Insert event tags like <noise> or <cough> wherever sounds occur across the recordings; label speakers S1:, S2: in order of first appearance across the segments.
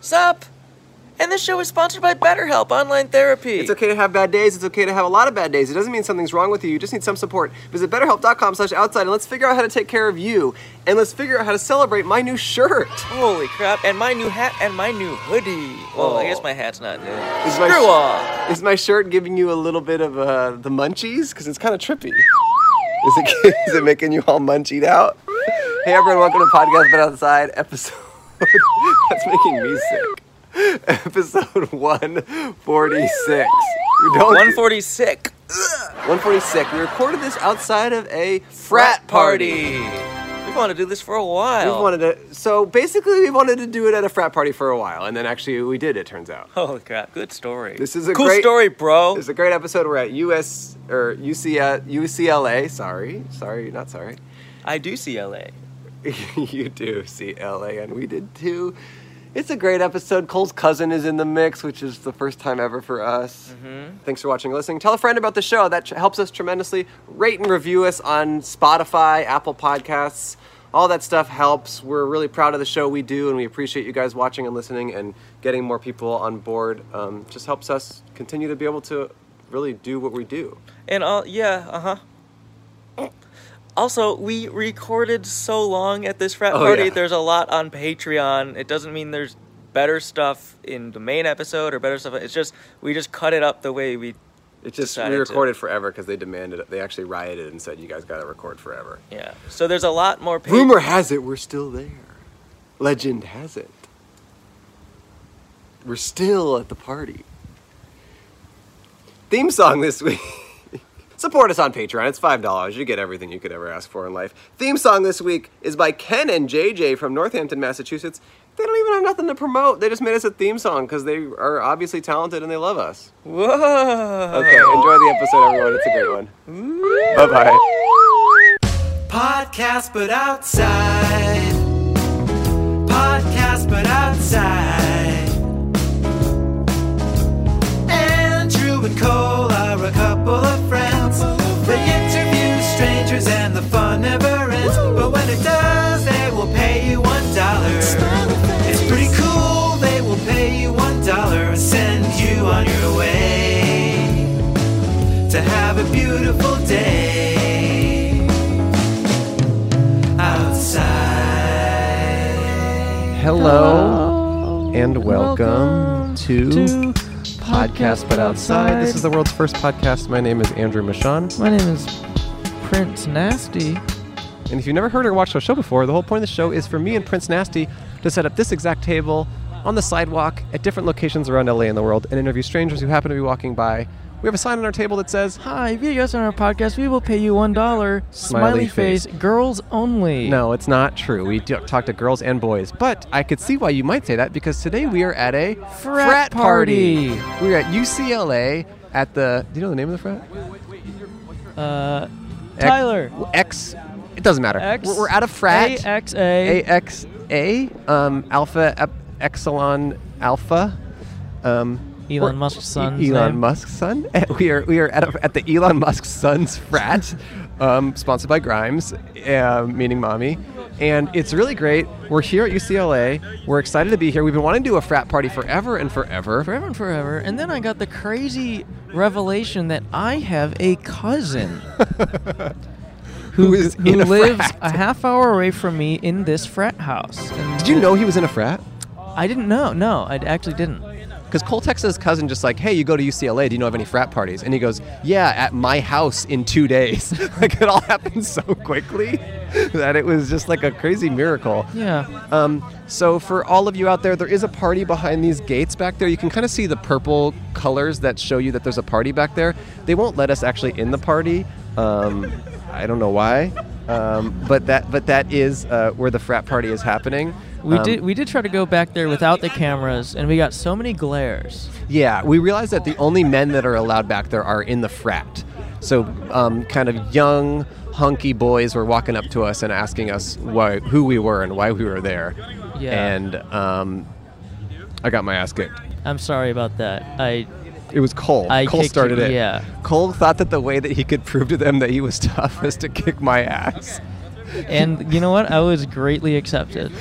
S1: Sup? And this show is sponsored by BetterHelp Online Therapy.
S2: It's okay to have bad days. It's okay to have a lot of bad days. It doesn't mean something's wrong with you. You just need some support. Visit betterhelp.com slash outside and let's figure out how to take care of you. And let's figure out how to celebrate my new shirt.
S1: Holy crap! And my new hat and my new hoodie. Well, I guess my hat's not new.
S2: Is my
S1: Screw
S2: sh-
S1: off.
S2: Is my shirt giving you a little bit of uh, the munchies? Because it's kind of trippy. Is it, <laughs> is it making you all munchied out? Hey everyone, welcome to Podcast But Outside episode. <laughs> That's making me sick. Episode 146. We don't
S1: One forty sick
S2: 146. We recorded this outside of a
S1: frat party. We've wanted to do this for a while.
S2: We wanted to, so basically, we wanted to do it at a frat party for a while, and then actually we did. It turns out
S1: Holy crap! Good story.
S2: This is a
S1: cool
S2: great-
S1: story, bro.
S2: it's a great episode. We're at US or UCL, UCLA. Sorry, sorry, not sorry.
S1: I do see LA.
S2: <laughs> you do see LA, and we did too. It's a great episode. Cole's cousin is in the mix, which is the first time ever for us.
S3: Mm-hmm.
S2: Thanks for watching and listening. Tell a friend about the show. That tr- helps us tremendously. Rate and review us on Spotify, Apple Podcasts. All that stuff helps. We're really proud of the show we do, and we appreciate you guys watching and listening and getting more people on board. Um, just helps us continue to be able to really do what we do.
S1: And all yeah, uh huh. Also, we recorded so long at this frat
S2: Oh,
S1: party.
S2: yeah.
S1: There's a lot on Patreon. It doesn't mean there's better stuff in the main episode or better stuff. It's just we just cut it up the way we.
S2: It just we
S1: Decided to-
S2: recorded forever because they demanded it. They actually rioted and said, "You guys got to record forever."
S1: Yeah. So there's a lot more. pa-
S2: Rumor has it we're still there. Legend has it. We're still at the party. Theme song this week. <laughs> Support us on Patreon. It's $5. You get everything you could ever ask for in life. Theme song this week is by Ken and JJ from Northampton, Massachusetts. They don't even have nothing to promote. They just made us a theme song because they are obviously talented and they love us.
S1: Whoa.
S2: Okay, enjoy the episode, everyone. It's a great one. Bye bye.
S4: Podcast but outside. Podcast but outside. Andrew and Cole are a couple of friends. They interview strangers and the fun never ends. But when it does, they will pay you one dollar. It's pretty cool. They will pay you one dollar and send you on your way to have a beautiful day outside.
S2: Hello and welcome, to, Podcast But Outside. This is the world's first podcast. My name is Andrew Michon.
S3: My name is Prince Nasty.
S2: And if you've never heard or watched our show before, the whole point of the show is for me and Prince Nasty to set up this exact table on the sidewalk at different locations around LA and the world and interview strangers who happen to be walking by. We have a sign on our table that says,
S3: Hi, if you guys are on our podcast, we will pay you one dollar. Smiley,
S2: face.
S3: face. girls only.
S2: No, it's not true. We do talk to girls and boys. But I could see why you might say that because today we are at a
S3: Frat
S2: party. We're at UCLA at the. Do you know the name of the frat?
S3: Uh, Tyler.
S2: X. It doesn't matter.
S3: X.
S2: We're, we're at a frat.
S3: AXA.
S2: AXA. Um, alpha Ep- Exelon Alpha. Um,
S3: Elon
S2: we're-
S3: Musk's
S2: E-
S3: son's
S2: Elon
S3: name.
S2: Musk's son. <laughs> We are we are at, a, at the Elon Musk's son's
S3: <laughs>
S2: frat, um, sponsored by Grimes, uh, meaning mommy, and it's really great. We're here at UCLA. We're excited to be here. We've been wanting to do a frat party forever and forever.
S3: forever and forever. And then I got the crazy revelation that I have a
S2: <laughs>
S3: cousin
S2: Who is
S3: who
S2: in a
S3: lives
S2: frat.
S3: a half hour away from me in this frat house. And
S2: Did you know he was in a frat?
S3: I didn't know. No, I actually didn't.
S2: Because Cole texts his cousin just like, "Hey, you go to UCLA? Do you know of any frat parties?" And he goes, "Yeah, at my house in two days." <laughs> like it all happened so quickly <laughs> that it was just like a crazy miracle.
S3: Yeah.
S2: Um, so for all of you out there, there is a party behind these gates back there. You can kind of see the purple colors that show you that there's a party back there. They won't let us actually in the party. Um, I don't know why, um, but that but that is uh, where the frat party is happening.
S3: We
S2: Um,
S3: did. We did try to go back there without the cameras, and we got so many glares.
S2: Yeah, we realized that the only men that are allowed back there are in the frat. So, um, kind of young, hunky boys were walking up to us and asking us why, who we were and why we were there.
S3: Yeah.
S2: And um, I got my ass kicked.
S3: I'm sorry about that. I
S2: It was Cole.
S3: I
S2: Cole
S3: kicked
S2: started
S3: you-
S2: it.
S3: yeah.
S2: Cole thought that the way that he could prove to them that he was <laughs> tough was to kick my ass.
S3: and you know what? I was greatly accepted.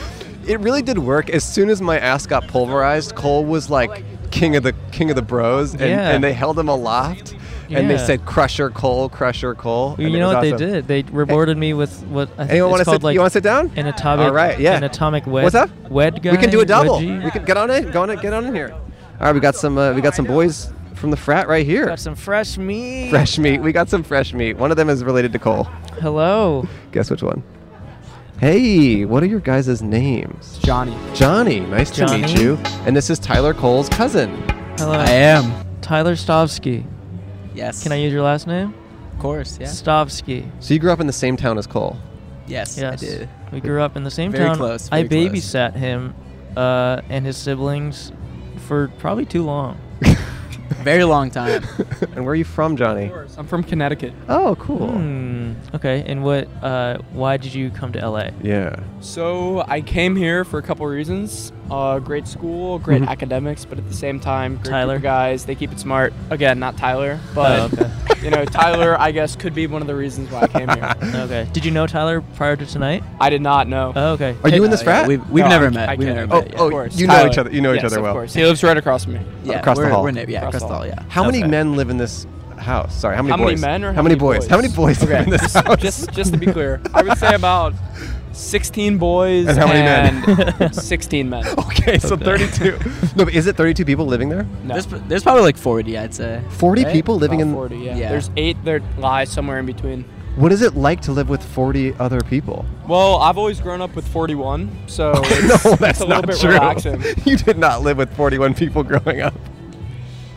S2: it really did work. As soon as my ass got pulverized, Cole was like king of the king of the bros, and,
S3: Yeah.
S2: and they held him aloft, and they
S3: Yeah.
S2: said Crusher Cole, Crusher Cole. and
S3: you
S2: it
S3: know
S2: was
S3: what they
S2: awesome.
S3: did? They rewarded me with what I think
S2: Anyone
S3: it's
S2: want to
S3: called
S2: sit?
S3: like
S2: you want to sit down?
S3: an atomic.
S2: All right, yeah.
S3: An atomic wed.
S2: What's up?
S3: Wed guy.
S2: we can do a double.
S3: wedgie.
S2: We can get on in. Go on in. Get on in here. All right, we got some. Uh, we got some boys from the frat right here.
S3: Got some fresh meat.
S2: fresh meat. We got some fresh meat. One of them is related to Cole.
S3: Hello.
S2: Guess which one? Hey, what are your guys' names?
S5: Johnny.
S2: Johnny, nice to meet
S3: Johnny.
S2: you. And this is Tyler Cole's cousin.
S3: Hello.
S5: I am.
S3: Tyler Stovsky.
S5: Yes.
S3: Can I use your last name?
S5: Of course. Yeah.
S3: Stovsky.
S2: So you grew up in the same town as Cole.
S5: Yes.
S3: Yes.
S5: I did.
S3: We grew up in the same
S5: Very
S3: town.
S5: close,
S3: I
S5: very close.
S3: babysat him uh, and his siblings for probably too long.
S5: <laughs> Very long time.
S2: <laughs> And where are you from, Johnny?
S6: I'm from Connecticut.
S2: Oh, cool.
S3: Hmm. Okay. And what? Uh, why did you come to LA?
S2: Yeah.
S6: So I came here for a couple reasons. Uh, great school,
S2: Mm-hmm.
S6: great academics, but at the same time, great group
S3: Tyler.
S6: of guys. They keep it smart. Again, not Tyler, but
S3: Oh,
S6: you know, Tyler. I guess could be one of the reasons why I came here.
S3: Okay. Did you know Tyler prior to tonight?
S6: I did not know.
S3: Oh, okay.
S2: Are you in this
S5: Uh,
S2: frat?
S5: yeah, we've we've
S6: No,
S5: never
S6: I-
S5: met.
S6: I
S5: we've
S6: can't.
S5: never
S2: oh,
S5: met. yeah.
S2: oh,
S6: Of course.
S2: you know each
S6: Tyler.
S2: other. You know each
S6: Yes,
S2: other
S6: of
S2: well.
S6: course. He lives right across from me.
S5: yeah,
S2: across the
S5: we're,
S2: hall.
S5: We're neigh- yeah,
S6: Across
S5: across
S6: the
S5: the hall.
S6: hall.
S5: Yeah.
S2: How many
S3: Okay.
S2: men live in this house? Sorry, how many
S6: How many
S2: boys?
S6: men or
S2: how,
S6: how
S2: many
S6: many
S2: boys?
S6: boys?
S2: How many boys live
S6: Okay.
S2: in this house?
S6: <laughs> Just, just to be
S2: <laughs>
S6: clear, I would say about 16 boys
S2: And how many men?
S6: and 16 men.
S2: <laughs> okay, so
S6: <laughs>
S2: 32. <laughs> no, but is it 32 people living there?
S6: No.
S5: There's, pr- there's probably like 40, I'd say.
S2: 40
S5: Right?
S2: people living
S6: About
S2: in
S6: 40, yeah.
S5: Yeah.
S6: There's eight that lie somewhere in between.
S2: What is it like to live with 40 other people?
S6: Well, I've always grown up with 41,
S2: <laughs>
S6: so it's,
S2: no,
S6: it's
S2: that's
S6: a little
S2: not
S6: bit
S2: true.
S6: relaxing.
S2: <laughs> You did not live with 41 people growing up.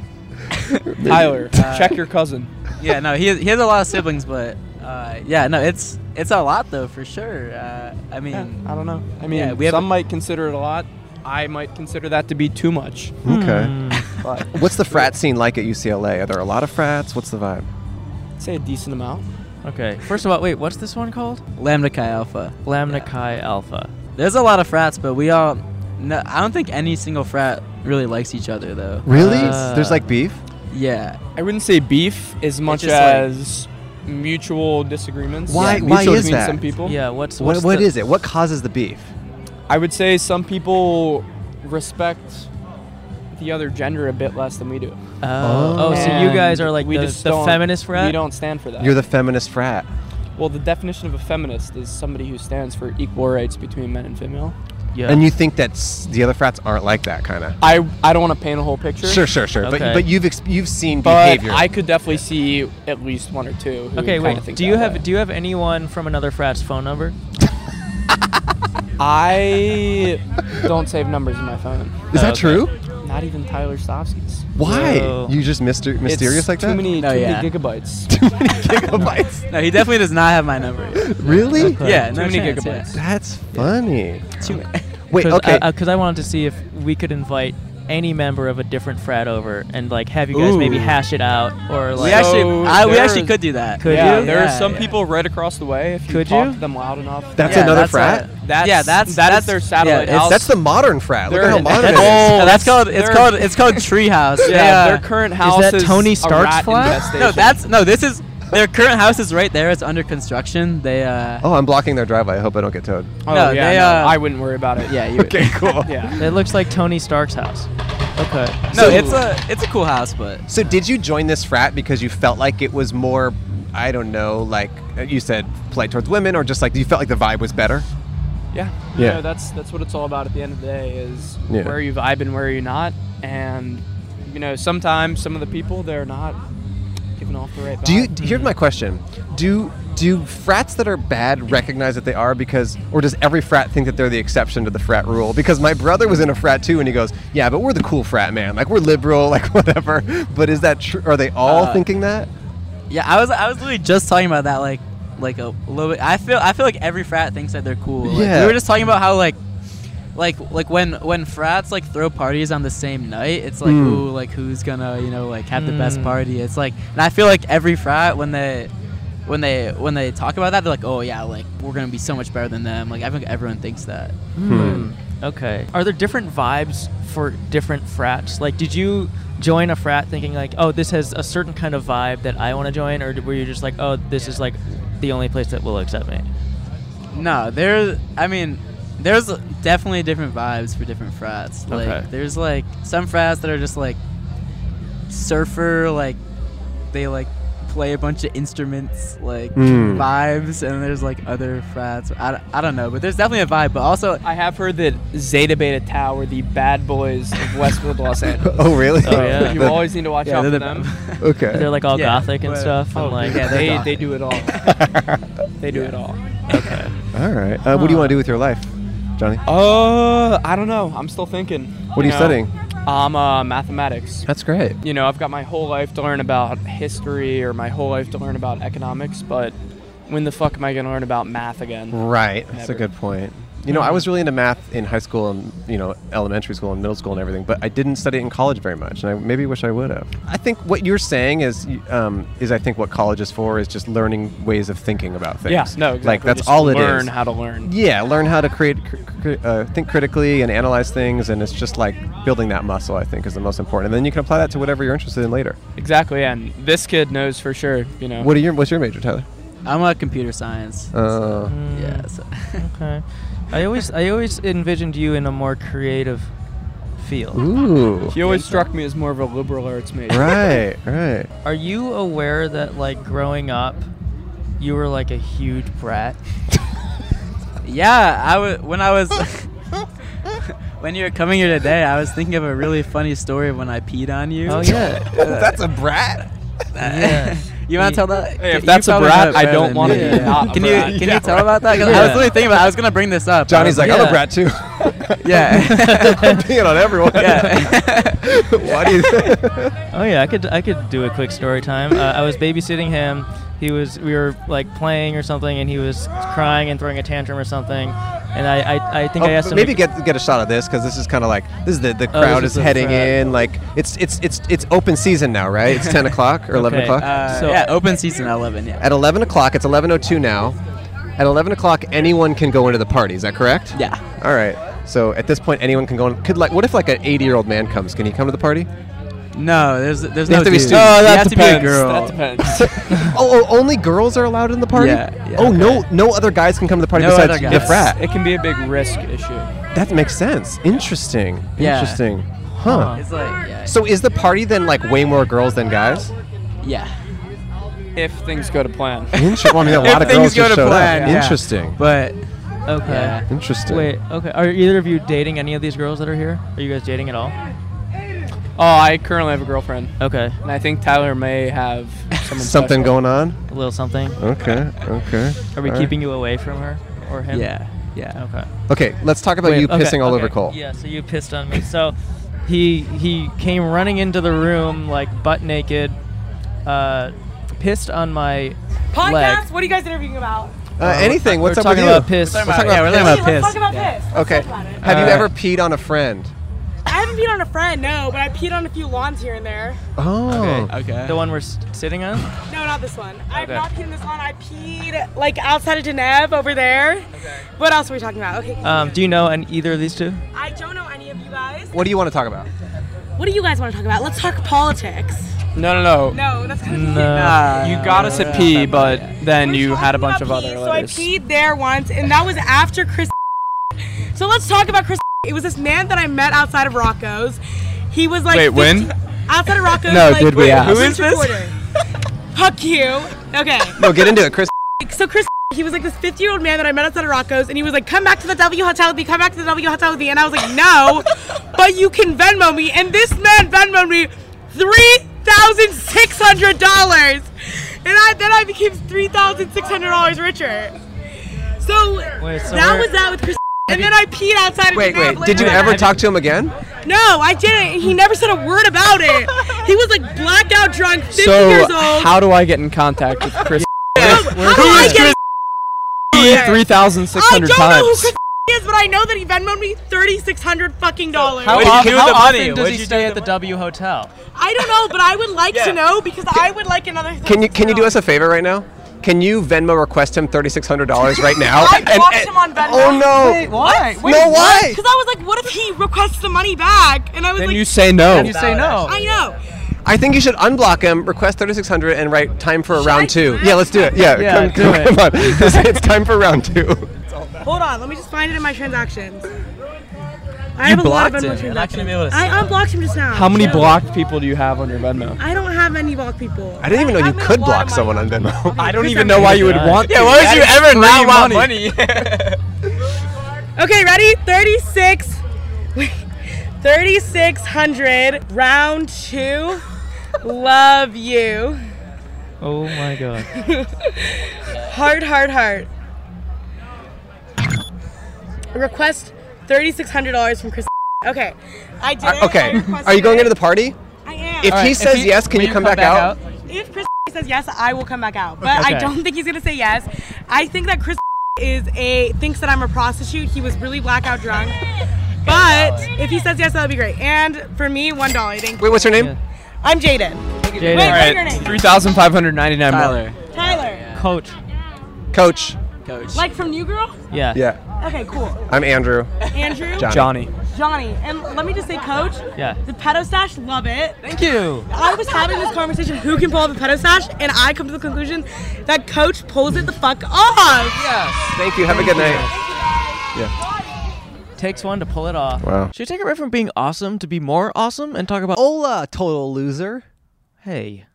S2: <laughs>
S6: Tyler,
S5: Uh,
S6: <laughs> check your cousin.
S5: <laughs> yeah, no, he has, he has a lot of siblings, but uh, yeah, no, it's it's a lot though for sure. Uh, I mean,
S6: I don't know. I mean,
S5: Yeah, we have
S6: some
S5: a-
S6: might consider it a lot. I might consider that to be too much.
S2: Okay.
S5: Hmm.
S6: <laughs> But
S2: What's the frat scene like at UCLA? Are there a lot of frats? What's the vibe?
S6: I'd say a decent amount.
S3: Okay. First of all, wait. What's this one called?
S5: Lambda Chi Alpha.
S3: Lambda
S5: Yeah.
S3: Chi Alpha.
S5: There's a lot of frats, but we all. No, I don't think any single frat really likes each other though.
S2: Really?
S3: Uh,
S2: There's like beef?
S5: Yeah.
S6: I wouldn't say beef as much
S5: just
S6: as mutual disagreements.
S2: Why-
S6: Yeah,
S2: why
S6: mutual
S2: is
S6: between
S2: that?
S6: Some people.
S3: Yeah. What's
S2: What,
S3: what's
S2: what
S3: the-
S2: is it? What causes the beef?
S6: I would say some people respect the other gender a bit less than we do.
S3: Oh, oh, so you
S6: And
S3: guys are like
S6: we
S3: the,
S6: just
S3: the
S6: don't-
S3: feminist frat.
S6: We don't stand for that.
S2: You're the feminist frat.
S6: Well, the definition of a feminist is somebody who stands for equal rights between men and female.
S3: Yeah.
S2: And you think that s- the other frats aren't like that kind of.
S6: I, I don't want to paint a whole picture.
S2: Sure, sure, sure.
S3: Okay.
S2: But, but you've ex- you've seen
S6: But
S2: behavior.
S6: I could definitely see at least one or two. Who
S3: okay.
S6: kinda
S3: Wait.
S6: think
S3: Do
S6: that
S3: you have
S6: way.
S3: do you have anyone from another frat's phone number?
S6: <laughs>
S3: <laughs>
S6: I don't save numbers in my phone.
S2: Is that
S3: Oh, Okay.
S2: true?
S6: Not even Tyler Stovsky's.
S2: Why?
S3: Whoa.
S2: You just myster- mysterious
S6: It's
S2: like
S6: too
S2: that?
S6: Many,
S5: No,
S6: too
S5: Oh, yeah.
S6: many
S2: <laughs>
S6: gigabytes.
S2: Too
S6: <laughs>
S2: many gigabytes.
S5: No, he definitely does not have my number.
S2: really?
S3: Okay.
S5: yeah,
S6: Too
S5: no
S6: many
S5: chance,
S6: gigabytes.
S2: That's funny.
S5: yeah. Too <laughs> many.
S2: Wait, okay.
S3: Because I, wanted to see if we could invite any member of a different frat over and like have you guys maybe
S5: Ooh.
S3: hash it out or
S5: we
S3: like.
S5: actually,
S6: So
S5: I, we
S6: there's-
S5: actually could do that.
S3: Could
S6: oh, yeah,
S3: you?
S6: there are
S5: Yeah,
S6: some
S5: yeah.
S6: people right across the way. If you
S3: Could
S6: talk
S3: you?
S6: to them loud enough,
S2: That's
S5: Yeah,
S2: another
S5: that's
S2: frat?
S5: a-
S6: That's,
S5: yeah, that's
S6: that is
S5: that's-
S6: their satellite
S5: yeah, it's-
S6: house.
S2: That's the modern frat. Look at
S6: They're-
S2: how modern it
S3: that's-
S2: is.
S5: Oh, that's called. It's
S6: they're-
S5: called. It's called Treehouse.
S6: yeah,
S5: yeah.
S6: their current house
S3: that Tony Stark's
S6: a rat
S3: flat?
S6: infestation.
S5: No, that's no. This is their current house is right there. It's under construction. They uh.
S2: <laughs> Oh, I'm blocking their driveway. I hope I don't get towed.
S6: Oh,
S5: No,
S6: yeah,
S5: they,
S6: no,
S5: uh,
S6: I wouldn't worry about it.
S5: Yeah. You
S2: Okay,
S5: <laughs>
S2: cool.
S6: yeah.
S3: It looks like Tony Stark's house. Okay.
S5: No,
S2: So-
S5: it's a it's a cool house, but
S2: So, did you join this frat because you felt like it was more, I don't know, like uh, you said, polite towards women, or just like you felt like the vibe was better?
S6: Yeah.
S2: Yeah.
S6: You know, that's that's what it's all about at the end of the day is
S2: Yeah.
S6: where you vibe and where you're not. And you know, sometimes some of the people they're not giving off the right vibe.
S2: Do you? Here's my question: Do do frats that are bad recognize that they are because, or does every frat think that they're the exception to the frat rule? Because my brother was in a frat too, and he goes, "Yeah, but we're the cool frat, man. Like we're liberal, <laughs> like whatever." But is that true? Are they all
S5: Uh,
S2: thinking that?
S5: yeah, I was I was literally just talking about that like like a little bit. I feel I feel like every frat thinks that they're cool. Like,
S2: Yeah.
S5: we were just talking about how like like like when when frats like throw parties on the same night, it's like
S2: Mm.
S5: ooh like who's gonna you know like have the best
S3: Mm.
S5: party. It's like and I feel like every frat when they. When they when they talk about that, they're like, "Oh yeah, like we're gonna be so much better than them." Like I think everyone thinks that.
S2: Hmm.
S3: Okay. Are there different vibes for different frats? Like, did you join a frat thinking like, oh, this has a certain kind of vibe that I want to join, or were you just like, oh, this is like the only place that will accept me?
S5: No, there. I mean, there's definitely different vibes for different frats. Like
S6: Okay.
S5: there's like some frats that are just like surfer, like they like play a bunch of instruments, like
S2: Mm.
S5: vibes, and there's like other frats. I, d- I don't know, but there's definitely a vibe. But also,
S6: I have heard that Zeta Beta Tau were the bad boys of Westwood, Los Angeles.
S2: <laughs> oh really?
S3: Oh,
S2: <laughs>
S3: yeah.
S6: You always need to watch
S5: Yeah,
S6: out
S5: they're
S6: for
S5: the-
S6: them.
S2: okay.
S3: They're like all
S5: Yeah,
S3: gothic and
S5: but-
S3: stuff,
S6: Oh,
S3: and like
S5: yeah,
S6: they,
S5: they're
S6: they
S5: gothic.
S6: do it all. They do
S5: <laughs>
S6: it all.
S2: All right. Uh, what do you want to do with your life, Johnny?
S6: Uh, I don't know. I'm still thinking.
S2: What are you
S6: know,
S2: studying?
S6: I'm uh, mathematics.
S2: That's great.
S6: You know, I've got my whole life to learn about history or my whole life to learn about economics, but when the fuck am I going to learn about math again?
S2: Right. That's a
S6: Never.
S2: good point. You know, I was really into math in high school and you know elementary school and middle school and everything, but I didn't study it in college very much, and I maybe wish I would have. I think what you're saying is, y- um, is I think what college is for is just learning ways of thinking about things.
S6: Yeah, no, exactly.
S2: like that's
S6: Just
S2: all it is.
S6: Learn how to learn.
S2: yeah, learn how to create, cr- cr- uh, think critically, and analyze things, and it's just like building that muscle. I think is the most important, and then you can apply that to whatever you're interested in later.
S6: Exactly, and this kid knows for sure, you know.
S2: What are your What's your major, Tyler?
S5: I'm a computer science.
S2: Uh,
S5: yeah. So.
S3: Okay. I always I always envisioned you in a more creative field.
S2: ooh,
S6: He always struck me as more of a liberal arts
S2: <laughs>
S6: major.
S2: right, right.
S3: <laughs>
S2: <laughs>
S3: Are you aware that like growing up, you were like a huge brat?
S5: Yeah, I was when I was <laughs> when you were coming here today. I was thinking of a really funny story of when I peed on you.
S3: Oh
S6: <laughs>
S3: yeah.
S2: That's a brat.
S3: yeah.
S5: <laughs> You want to tell that?
S6: Hey, if
S5: You
S6: that's a
S5: probably
S6: brat,
S5: know it
S6: I
S5: better
S6: don't
S5: than
S6: wanna
S5: me.
S6: be not a
S5: Can
S6: brat.
S5: you can you tell about that? 'Cause I was
S3: Yeah.
S5: really thinking about. it. I was gonna bring this up.
S2: Johnny's like, I'm a
S3: Yeah.
S2: brat too.
S5: <laughs> yeah.
S2: I'm <laughs> peeing on everyone.
S5: Yeah.
S2: <laughs> Why do you?
S3: <laughs> Oh yeah, I could I could do a quick story time. Uh, I was babysitting him. He was we were like playing or something, and he was crying and throwing a tantrum or something. And I I, I think I
S2: Oh,
S3: asked him.
S2: maybe
S3: to-
S2: get get a shot of this because this is kind of like this is the, the
S3: Oh,
S2: crowd
S3: this
S2: is
S3: is the
S2: heading
S3: crowd.
S2: in like it's it's it's it's open season now right it's
S5: <laughs>
S2: 10 o'clock or 11
S3: Okay,
S2: o'clock
S5: Uh,
S3: So-
S5: yeah, open season at eleven. Yeah.
S2: at 11 o'clock it's 11.02 now at 11 o'clock anyone can go into the party is that correct
S5: Yeah.
S2: all right so at this point anyone can go in could like what if like an 80 year old man comes can he come to the party
S5: No, there's there's
S2: They
S5: no
S2: have to be
S5: dudes.
S2: students. Oh,
S5: You
S2: that
S5: have to be a girl.
S6: That depends.
S2: <laughs> oh, oh only girls are allowed in the party
S5: Yeah, yeah,
S2: oh no no other guys can come to the party
S5: No
S2: besides
S5: other guys.
S2: the
S5: It's-
S2: frat
S6: It can be a big risk issue.
S2: that makes sense interesting
S5: Yeah.
S2: interesting huh
S5: It's like yeah.
S2: so is the party then like way more girls than guys
S5: yeah.
S6: If things go to plan.
S2: Inter- well, I mean, a lot of
S5: If things
S2: girls
S5: go
S2: just
S5: to
S2: showed
S5: plan,
S2: up.
S5: yeah.
S2: Interesting.
S5: But
S3: okay.
S5: yeah.
S2: Interesting.
S3: Wait. Okay. Are either of you dating any of these girls that are here? Are you guys dating at all?
S6: Oh, I currently have a girlfriend,
S3: Okay.
S6: and I think Tyler may have
S2: <laughs>
S6: someone
S2: Something
S6: special.
S2: going on?
S3: A little something.
S2: Okay. Okay.
S3: Are we
S2: All right.
S3: keeping you away from her or him?
S5: yeah. Yeah.
S3: Okay.
S2: Okay, let's talk about
S3: Wait,
S2: you
S3: okay,
S2: pissing all
S3: okay.
S2: over Cole.
S3: Yeah, so you pissed on me. So he he came running into the room like butt naked, uh, pissed on my
S7: Podcast?
S3: leg.
S7: What are you guys interviewing about?
S2: Uh, anything? What's
S3: We're
S2: up
S3: talking
S2: with you?
S3: about piss.
S5: We're talking about, yeah, we're
S7: Hey,
S5: talking about
S7: let's
S5: piss.
S7: talk about this. Let's
S2: Okay.
S7: talk about it.
S2: Have you
S3: Uh,
S2: ever peed on a friend?
S7: I haven't peed on a friend, no, but I peed on a few lawns here and there.
S2: Oh.
S5: Okay.
S3: The one we're s- sitting on.
S7: No, not this one. I've
S3: Okay.
S7: not peed on this lawn. I peed like outside of Geneve over there. Okay. What else are we talking about? Okay.
S3: Um, do you know and either of these two?
S7: I don't know any of you guys.
S2: What do you want to talk about?
S7: What do you guys want to talk about? Let's talk politics.
S6: No, no, no.
S7: No, that's kind of
S5: Nah.
S6: You got us at P, but then you had a bunch of other
S7: So I
S6: letters.
S7: peed there once, and that was after Chris. <laughs> So let's talk about Chris. It was this man that I met outside of Rocco's. He was like
S6: Wait, when?
S7: 15 outside of Rocco's.
S5: No,
S7: like,
S5: did we ask?
S6: Who is this?
S7: Quarter. Fuck you. Okay.
S2: No, get into it, Chris.
S7: So Chris, he was like this 50 year old man that I met outside of Rocco's, and he was like, "Come back to the W Hotel with me. Come back to the W Hotel with me." And I was like, "No, but you can Venmo me." And this man Venmoed me three thousand six hundred dollars, and I then I became three thousand six hundred dollars richer. So,
S3: Wait, so
S7: that
S3: where-
S7: was that with Chris. And then I peed outside of
S2: Wait,
S7: his
S2: wait.
S7: mouth
S2: Did you
S7: later.
S2: ever talk to him again?
S7: No, I didn't. and He never said a word about it. He was like blacked out drunk, 50
S6: So
S7: years old.
S6: how do I get in contact with Chris?
S7: <laughs> How do I get
S6: Three thousand six
S7: I
S6: hundred
S7: don't know who
S6: times.
S7: Chris is, but I know that he Venmoed me thirty-six hundred fucking dollars.
S3: How,
S5: did you
S3: often,
S5: do with
S3: how
S5: the money?
S3: often
S5: What'd
S3: does he
S5: you
S3: stay
S5: do
S3: at the W Hotel?
S7: I don't know, but I would like to know because I would like another.
S2: Can
S7: <laughs>
S2: you can you do us a favor right now? Can you Venmo request him thirty six hundred dollars right now?
S7: I blocked him on Venmo.
S2: Oh no!
S3: why?
S2: no, why?
S7: Because I was like, what if he requests the money back? And I was
S6: Then
S7: like,
S6: you say no.
S3: You say no.
S7: I know.
S2: I think you should unblock him, request 3600, and write time for a round
S7: I
S2: two.
S7: do it?
S2: Yeah, let's do it. Yeah,
S3: Yeah,
S2: <laughs> come,
S3: do
S2: come,
S3: it.
S2: come on. it's time for round two.
S7: Hold on, let me just find it in my transactions. I
S5: You
S7: have a
S5: blocked
S7: lot of Venmo
S5: him. You're not gonna be able
S7: transactions.
S5: to
S7: I unblocked him just now.
S6: How many
S7: Yeah.
S6: blocked people do you have on your Venmo?
S7: I don't have any blocked people.
S2: I didn't even know you
S7: have a
S2: could
S7: lot
S2: block
S7: of my-
S2: someone on Venmo.
S6: I don't even know why you would
S8: Yeah.
S6: want.
S5: Yeah, why would you ever not want money?
S7: Okay, ready? 36. Wait. 3600 round 2. Love you.
S8: Oh my god.
S7: Heart, heart, heart. Request $3,600 from Chris. Okay. I did it. I
S2: <laughs> Uh, Okay.
S7: requested
S2: Are you going
S7: it.
S2: into the party?
S7: I am.
S2: If
S5: All right,
S2: he
S5: if
S2: says
S5: he-
S2: yes, can
S5: will
S2: you come, back, out?
S7: If Chris says yes, I will come back out. But I
S8: Okay.
S7: don't think he's gonna say yes. I think that Chris is a thinks that I'm a prostitute. He was really blackout drunk. But if he says yes, that would be great. And for me, one dollar. Thank you.
S2: Wait, what's your name?
S8: Yeah.
S7: I'm Jaden.
S8: Jaden,
S7: Wait,
S6: All
S7: what's your
S6: right,
S7: name?
S6: three thousand five hundred ninety-nine.
S5: Tyler,
S7: Tyler.
S8: coach.
S2: Coach.
S5: coach.
S7: Like from New Girl?
S8: Yeah.
S2: Yeah.
S7: Okay, cool.
S2: I'm Andrew.
S7: Andrew,
S2: John.
S6: Johnny.
S7: Johnny, and let me just say, Coach,
S8: Yeah.
S7: the pedo stash, love it.
S8: Thank you.
S7: I was having this conversation who can pull out the pedo stash, and I come to the conclusion that Coach pulls it the fuck off.
S2: Thank you. Have a good night.
S8: Takes one to pull it off.
S2: Wow.
S3: Should we take a break from being awesome to be more awesome and talk about?
S2: Hola, total loser.
S3: Hey,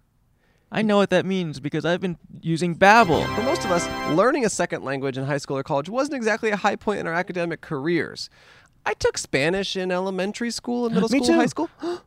S3: I know what that means because I've been using Babbel.
S2: For most of us, learning a second language in high school or college wasn't exactly a high point in our academic careers. I took Spanish in elementary school and middle
S3: Me
S2: school,
S3: too.
S2: high school, and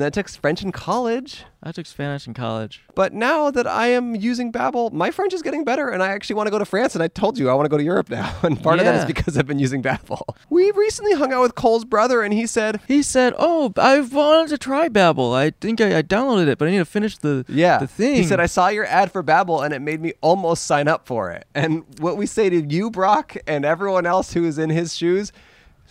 S2: then I took French in college.
S3: I took Spanish in <gasps> college.
S2: But now that I am using Babbel, my French is getting better, and I actually want to go to France. And I told you I want to go to Europe now, <laughs> and part of that is
S3: Yeah.
S2: because I've been using Babbel. <laughs> We recently hung out with Cole's brother, and he said,
S3: He said, "Oh, I wanted to try Babbel. I think I, I downloaded it, but I need to finish the
S2: "Yeah,
S3: the thing."
S2: He said, "I saw your ad for Babbel, and it made me almost sign up for it." And what we say to you, Brock, and everyone else who is in his shoes.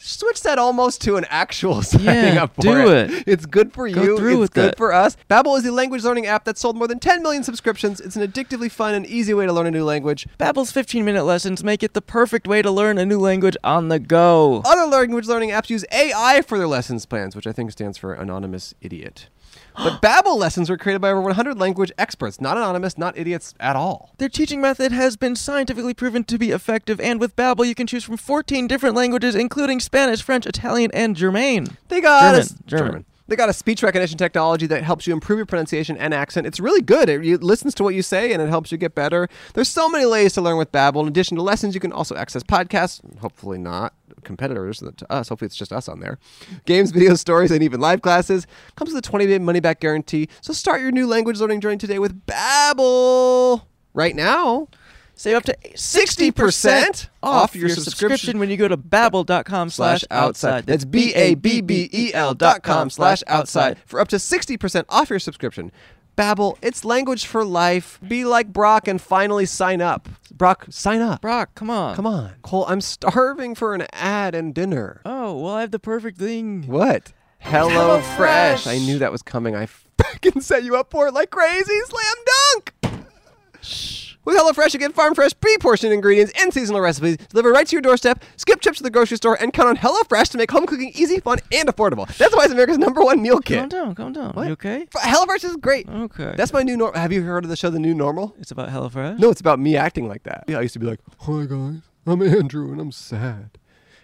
S2: Switch that almost to an actual <laughs> signing up for
S3: do it.
S2: It's good for
S3: Go
S2: you.
S3: through
S2: it's
S3: with
S2: good
S3: it.
S2: for us. Babbel is the language learning app that sold more than 10 million subscriptions. It's an addictively fun and easy way to learn a new language.
S3: Babbel's 15-minute lessons make it the perfect way to learn a new language on the go.
S2: Other language learning apps use AI for their lessons plans, which I think stands for anonymous idiot.
S3: <gasps>
S2: But Babbel lessons were created by over 100 language experts, not anonymous, not idiots at all.
S3: Their teaching method has been scientifically proven to be effective, and with Babbel, you can choose from 14 different languages, including Spanish, French, Italian, and German.
S2: They got a,
S3: German, German.
S2: They got a speech recognition technology that helps you improve your pronunciation and accent. It's really good. It, it listens to what you say and it helps you get better. There's so many ways to learn with Babbel. In addition to lessons, you can also access podcasts. Hopefully not competitors to us. Hopefully it's just us on there. Games, videos, stories, and even live classes. Comes with a 20-day money-back guarantee. So start your new language learning journey today with Babbel. Right now,
S3: Save up to 60% off your subscription when you go to babbel.com
S2: slash outside. That's B A B B E L dot com slash outside for up to 60% off your subscription. Babbel, it's language for life. Be like Brock and finally sign up. Brock, sign up.
S3: Brock, come on.
S2: Come on. Cole, I'm starving for an ad and dinner.
S3: Oh, well, I have the perfect thing.
S2: What? Hello Fresh.
S3: Fresh.
S2: I knew that was coming. I freaking set you up for it like crazy. Slam dunk. With HelloFresh, you get farm fresh, pre portioned ingredients, and seasonal recipes delivered right to your doorstep. Skip trips to the grocery store and count on HelloFresh to make home cooking easy, fun, and affordable. That's why it's America's number one meal
S3: Calm
S2: kit.
S3: down, calm down. You okay?
S2: F- HelloFresh is great.
S3: Okay.
S2: That's my new normal. Have you heard of the show, The New Normal?
S3: It's about HelloFresh?
S2: No, it's about me acting like that. Yeah, I used to be like, "Hi guys, I'm Andrew, and I'm sad,"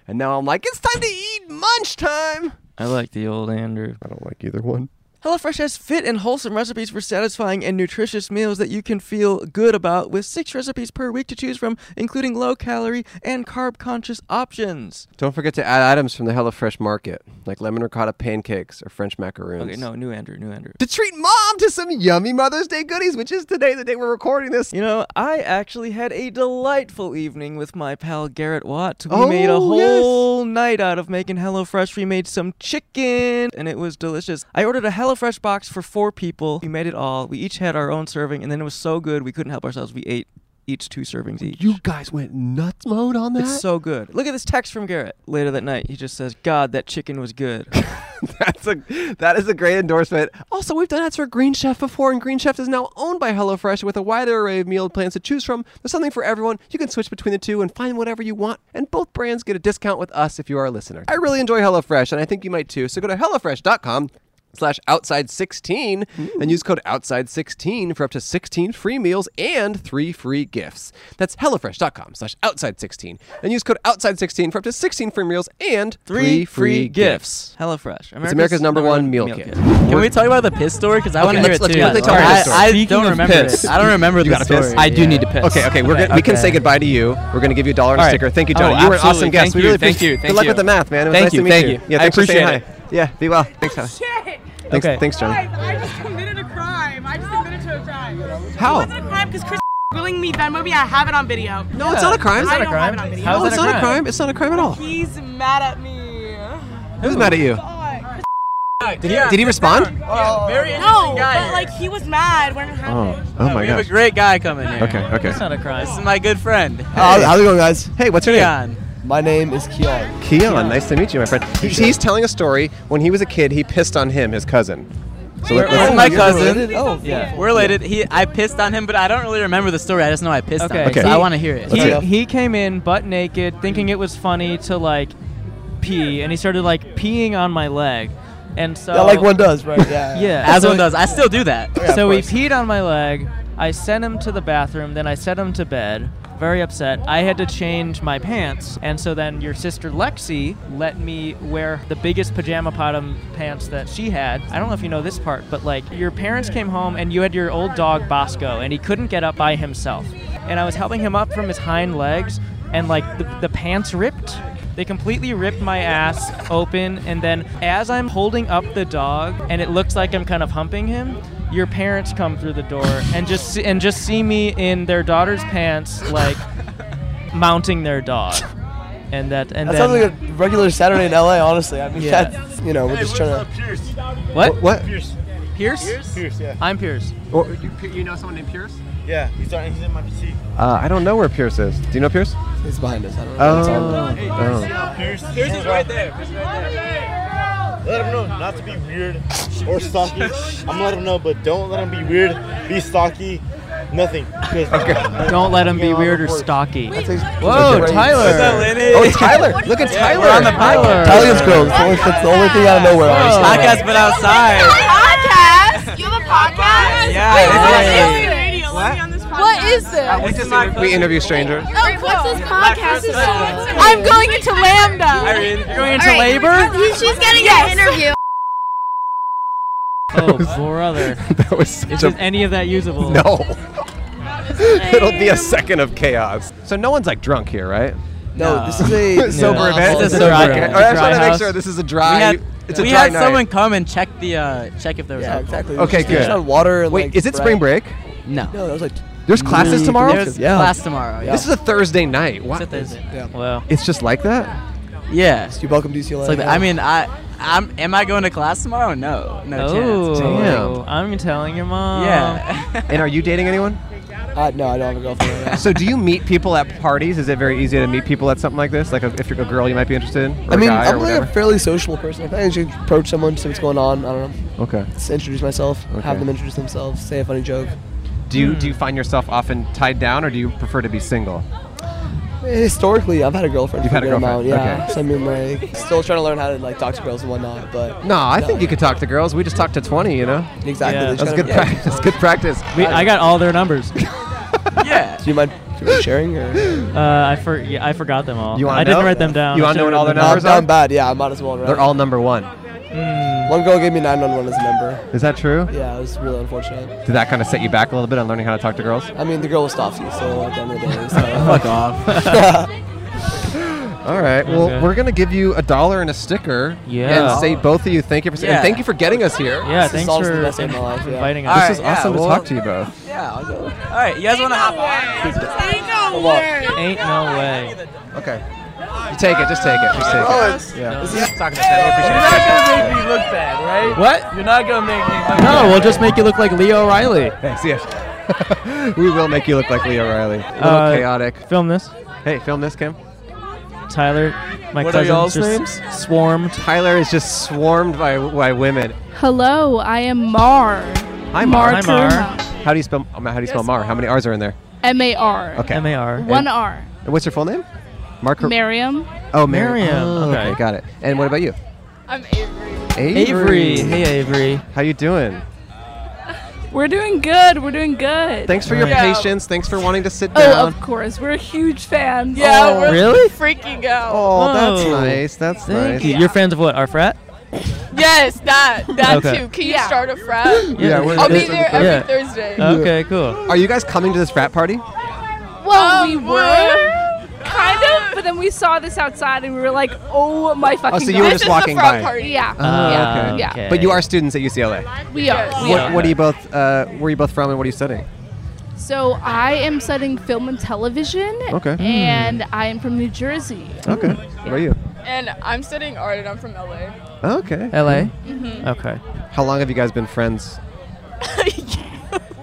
S2: and now I'm like, "It's time to eat munch time."
S3: I like the old Andrew.
S2: I don't like either one.
S3: HelloFresh has fit and wholesome recipes for satisfying and nutritious meals that you can feel good about, with six recipes per week to choose from, including low calorie and carb conscious options.
S2: Don't forget to add items from the HelloFresh market, like lemon ricotta pancakes or French macaroons.
S3: Okay, no, new Andrew, new Andrew.
S2: To treat mom to some yummy Mother's Day goodies, which is today, the day we're recording this.
S3: You know, I actually had a delightful evening with my pal Garrett Watt. We
S2: Oh,
S3: made a
S2: yes.
S3: whole night out of making HelloFresh. We made some chicken, and it was delicious. I ordered a HelloFresh box for four people. We made it all. We each had our own serving, and then it was so good we couldn't help ourselves. We ate each two servings each.
S2: You guys went nuts mode on that.
S3: It's so good. Look at this text from Garrett. Later that night, he just says, "God, that chicken was good."
S2: <laughs> That's a that is a great endorsement. Also, we've done ads for Green Chef before, and Green Chef is now owned by HelloFresh with a wider array of meal plans to choose from. There's something for everyone. You can switch between the two and find whatever you want. And both brands get a discount with us if you are a listener. I really enjoy HelloFresh, and I think you might too. So go to hellofresh.com slash outside 16 and use code outside 16 for up to 16 free meals and three free gifts that's hellofresh.com slash outside 16 and use code outside 16 for up to 16 free meals and
S1: Three free gifts. HelloFresh. America's,
S2: America's number one meal kit.
S5: Can we talk about the piss story? Because I want to
S2: let's-
S5: hear it
S2: let's
S5: too.
S2: quickly talk
S5: I-
S2: about this
S5: I,
S2: story.
S5: don't remember
S1: piss.
S5: it. I don't remember the
S2: gotta piss?
S5: story.
S6: I do
S5: yeah.
S6: need to piss.
S2: Okay, okay, we're Gonna, we can
S5: okay.
S2: say goodbye to you. We're gonna give you a dollar and
S6: All
S2: a
S6: right.
S2: sticker. Thank you,
S6: Oh,
S2: Jonah. you were an
S6: absolutely.
S2: awesome guest.
S6: Thank
S2: we
S6: you,
S2: really
S6: thank
S2: appreciate
S6: you,
S2: Good
S6: thank
S2: luck
S6: you.
S2: with the math, man. It was
S6: Thank
S2: nice
S6: you,
S2: to meet
S6: thank
S2: you.
S6: you.
S2: Yeah,
S6: I
S2: thanks for saying hi.
S6: appreciate
S2: Yeah, be well. Thanks, Tyler.
S7: Shit.
S2: Thanks,
S3: Okay.
S2: thanks, Jonah.
S7: Guys, I just committed a crime. I just admitted to a crime.
S2: How?
S7: It wasn't a crime because Chris <laughs> willing me Venmo me. I have it on video.
S2: No, it's not a crime.
S7: I don't
S3: crime.
S7: have it on video.
S3: How
S2: No,
S3: is
S2: it's
S3: that a
S2: not a
S3: crime?
S2: crime. It's not a crime at all.
S7: He's mad at me.
S2: Who's mad at you?
S7: Fuck.
S2: Did he, did he respond?
S7: No, but like he was mad when it happened.
S2: oh my
S5: We have a great guy coming here.
S2: Okay, okay.
S3: It's not a crime.
S5: This is my good
S2: <laughs>
S5: friend.
S2: How's how's it going, guys? Hey, what's your name?
S5: Leon.
S9: My name is Keon.
S2: Keon. Nice to meet you, my friend. He's, he's telling a story. When he was a kid, he pissed on him, his cousin. So let-
S5: This
S2: let's-
S5: is my
S2: you're
S5: cousin.
S9: Oh, yeah.
S5: We're related. He, I pissed on him, but I don't really remember the story. I just know I pissed on
S3: Okay.
S5: him.
S2: Okay.
S5: So I want to hear it.
S2: Let's
S3: he,
S2: go.
S3: he came in butt naked, thinking it was funny to like pee, and he started like peeing on my leg, and so
S9: Yeah, like one does,
S3: <laughs>
S9: right? Yeah.
S3: yeah,
S5: As
S3: so
S5: one does. I still do that.
S9: Yeah, of
S3: so he
S9: course.
S3: peed on my leg. I sent him to the bathroom. Then I sent him to bed. Very upset. I had to change my pants, and so then your sister Lexi let me wear the biggest pajama bottom pants that she had. I don't know if you know this part, but like your parents came home and you had your old dog Bosco, and he couldn't get up by himself. And I was helping him up from his hind legs, and like the, the pants ripped. They completely ripped my ass open, and then as I'm holding up the dog, and it looks like I'm kind of humping him, your parents come through the door and just see, and just see me in their daughter's pants, like mounting their dog, and that and
S9: That
S3: then
S9: sounds like a regular Saturday in LA, honestly. I mean,
S3: Yeah.
S9: that's, you know, we're just trying to.
S3: what
S2: What? Oh.
S3: Pierce? I'm Pierce.
S2: Well, you, you know someone named Pierce?
S10: Yeah, he's, on, he's in my PC.
S2: Uh, I don't know where Pierce is. Do you know Pierce?
S9: It's behind us. I don't know.
S2: Oh.
S10: Pierce, Pierce is right there. Let him know not to be weird or stalky. I'm gonna let him know, but don't let him be weird, be stalky, nothing. Okay.
S3: Don't let him be
S10: Yeah,
S3: weird or
S10: of course.
S3: stocky.
S9: Whoa,
S3: Tyler.
S2: Oh, it's Tyler. Look at Tyler.
S5: We're on the
S3: Tyler.
S5: podcast.
S9: Italian's girls. That's the only- that's the only thing out of
S2: Oh.
S9: nowhere. honestly.
S5: Podcast, but outside.
S11: podcast? You have a podcast?
S5: Yeah,
S11: Wait,
S5: it's
S11: what
S5: like-
S11: is
S7: Hey,
S11: it?
S7: lady, let me on this
S11: What
S7: podcast.
S11: is this?
S2: we interview strangers. <laughs>
S11: Oh, what's this podcast? This is so exciting. I'm going into Lambda.
S3: You're going into
S11: All right.
S3: labor?
S11: He- She's getting an interview.
S3: Oh, brother.
S2: That was such
S3: Is
S2: a
S3: any of that usable? <laughs>
S2: no. <laughs> It'll be a second of chaos. So no one's like drunk here, right?
S9: No, this is
S2: <laughs>
S9: a
S5: <laughs>
S2: sober
S5: No.
S2: event.
S5: It's a
S2: Okay.
S5: dry-
S2: Okay.
S5: it's a
S2: I just
S3: dry
S2: want to make
S3: house.
S2: sure this is a
S5: We
S2: dry.
S5: had,
S2: it's a
S5: we
S2: dry
S5: had
S2: night.
S5: someone come and check the uh, check if there was
S9: Yeah,
S5: alcohol.
S9: exactly.
S2: Okay,
S9: Just- just
S2: good.
S9: on water. and,
S2: Wait,
S9: like,
S2: is it spring break?
S5: No. Mm,
S9: No, that was like.
S2: There's classes tomorrow.
S5: There's
S9: Yeah.
S5: class tomorrow. Yeah.
S2: This is a Thursday night. What?
S5: It's a Thursday.
S3: Well,
S2: It's just like that.
S5: Yeah.
S9: You welcome to UCLA.
S5: It's like that. I mean, I, I'm. Am I going to class tomorrow? No. No chance.
S3: oh, I'm telling your mom.
S5: Yeah.
S2: <laughs>
S5: <laughs>
S2: And are you dating anyone?
S9: Uh, no, I don't have a girlfriend right now.
S2: So do you meet people at parties? Is it very easy to meet people at something like this? Like a, if you're a girl, you might be interested in. Or
S9: I mean,
S2: a guy
S9: I'm like
S2: or
S9: a
S2: whatever.
S9: fairly sociable person. If I should approach someone, see what's going on, I don't know.
S2: okay.
S9: Just introduce myself,
S2: Okay.
S9: have them introduce themselves, say a funny joke.
S2: Do
S5: Hmm.
S2: you do you find yourself often tied down, or do you prefer to be single?
S9: Historically, I've had a girlfriend.
S2: You've
S9: for
S2: had a
S9: good
S2: girlfriend,
S9: amount, yeah.
S2: okay.
S9: So I mean, like, still trying to learn how to like talk to girls and whatnot, but
S2: No, I think you could talk to girls. We just talked to 20, you know.
S9: exactly.
S3: Yeah,
S9: they
S2: That's
S9: try
S2: good
S9: to- yeah.
S2: practice. <laughs> That's good practice.
S3: We, I got all their numbers.
S5: yeah.
S9: Do you mind do you mind sharing or?
S3: Uh, I for yeah, I forgot them all.
S2: You wanna
S3: I didn't
S2: know?
S3: write them down.
S2: You
S3: I
S2: wanna know
S3: should've
S2: what all
S3: written
S9: Not
S3: them
S2: their numbers
S3: down.
S2: are?
S9: not bad. Yeah, I might as well. Right?
S2: They're all number one.
S9: Hmm. One girl gave me 911 as a number.
S2: Is that true?
S9: Yeah, it was really unfortunate.
S2: Did that kind of set you back a little bit on learning how to talk to
S9: <laughs>
S2: girls?
S9: I mean, the girl was Stasi, so at the end of the day, it's kind
S2: <laughs>
S9: of-
S3: <laughs>
S5: Fuck off.
S2: All right. Well,
S3: Okay.
S2: we're gonna give you a dollar and a sticker.
S3: Yeah.
S2: And say both of you thank you for
S5: Yeah.
S2: and thank you for getting us here.
S3: Yeah,
S9: This is
S3: thanks
S9: honestly
S3: for
S9: the best day of my
S3: in-
S9: life, yeah.
S3: inviting
S5: All
S3: us.
S5: right.
S2: This is awesome
S5: yeah,
S2: to
S5: well-
S2: talk to you both.
S5: Yeah. I'll go. All right. You guys want to hop on?
S7: Ain't no
S9: Well,
S7: way.
S9: <laughs>
S3: Ain't no way.
S2: Okay. You take it. Just take it. Just take it. yeah. Talking to
S3: What? You're not gonna make me. No, we'll just make you look like Leo O'Reilly.
S2: <laughs> Thanks. Yes. <laughs> we will make you look like Leo Riley. A little
S3: Uh,
S2: chaotic.
S3: Film this.
S2: Hey, film this, Kim.
S3: Tyler, my
S5: What are
S3: cousin
S5: y'all's
S3: just swarmed.
S2: Tyler is just swarmed by by women.
S11: Hello, I am Mar.
S2: Hi, Mar.
S3: Hi, Mar.
S2: How do you spell? um, How do you spell Mar? How many R's are in there?
S11: M A R.
S2: Okay.
S3: M A R.
S11: One R.
S2: And what's your full name? Mark.
S11: Miriam.
S2: oh, Miriam.
S3: Miriam.
S2: Oh, okay.
S3: Okay.
S2: got it. And what about you?
S11: I'm Avery.
S2: Avery.
S3: Avery. Hey, Avery.
S2: How you doing?
S11: We're doing good. We're doing good.
S2: Thanks for your
S11: Yeah.
S2: patience. Thanks for wanting to sit
S11: Oh,
S2: down.
S11: of course. We're huge fans.
S2: Yeah, Oh. we're Really?
S11: freaking out.
S2: Oh, that's
S3: Whoa.
S2: nice. That's
S3: Thank
S2: nice.
S3: you. You're fans of what? Our frat?
S12: Yes, that that
S3: Okay.
S12: too. Can you start a frat?
S2: Yeah, we're
S12: I'll be
S2: it's-
S12: there every
S2: yeah.
S12: Thursday.
S3: Okay, cool.
S2: Are you guys coming to this frat party?
S11: Well, we were kind of, but then we saw this outside and we were like, "Oh my fucking!"
S2: so you were
S11: God.
S2: This just is the walking frog by. party.
S11: Yeah.
S2: Oh,
S11: yeah.
S2: okay.
S11: Yeah.
S2: But you are students at UCLA.
S11: We are. We
S2: What,
S11: are.
S2: what are you both? Uh, where are you both from, and what are you studying?
S11: So I am studying film and television.
S2: Okay.
S11: And I am from New Jersey.
S2: Okay. Where are you?
S12: And I'm studying art, and I'm
S11: <laughs>
S12: from LA.
S2: Okay.
S3: LA.
S12: Mhm.
S3: Okay.
S2: How long have you guys been friends?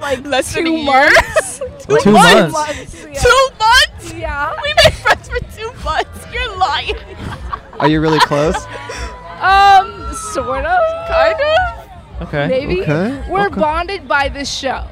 S12: Like less than a year.
S11: <laughs>
S12: two,
S2: Two
S12: months.
S2: months.
S12: Two months. Yeah. We made friends for two months. You're lying.
S2: Are you really close?
S11: Um, sort of,
S12: kind of.
S3: <laughs> Okay.
S11: Maybe.
S2: Okay,
S11: We're bonded by this show.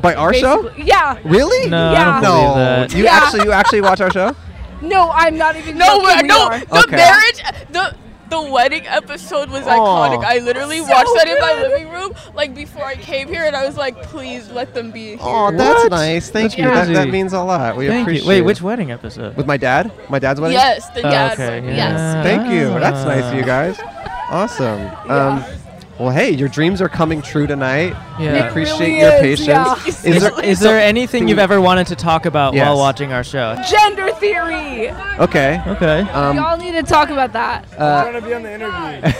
S2: By our show?
S11: Basically- Yeah.
S2: Really?
S3: No,
S11: Yeah.
S3: I don't believe that.
S2: No. You
S11: Yeah.
S2: actually, you actually watch our show?
S11: No, I'm not even.
S12: No,
S11: joking,
S12: we're-
S11: we
S12: no,
S11: are.
S12: The
S2: Okay.
S12: marriage, the the wedding episode was
S2: Aw.
S12: iconic. I literally
S11: So
S12: watched that in my
S11: good.
S12: living room, like before I came here, and I was like, please let them be. Here.
S2: Oh, that's nice. Thank
S3: That's
S2: you. That,
S3: crazy.
S2: that means a lot. We
S3: Thank
S2: appreciate.
S3: you. Wait,
S2: it.
S3: which wedding episode?
S2: With my dad? My dad's wedding?
S12: Yes, the
S3: Oh,
S12: dad's
S3: okay.
S12: wedding.
S3: Yeah.
S2: Thank you. That's nice of you
S3: Ah.
S2: guys. Awesome. Um, well, hey, your dreams are coming true tonight. We
S3: Yeah. It
S2: appreciate
S11: really
S2: your
S11: is,
S2: patience.
S11: yeah.
S3: Is, is there
S2: something-
S3: anything you've ever wanted to talk about
S2: Yes.
S3: while watching our show?
S11: Gender theory.
S2: Okay.
S3: Okay.
S11: we
S2: Um,
S11: all need to talk about that.
S2: uh,
S10: to be on the interview.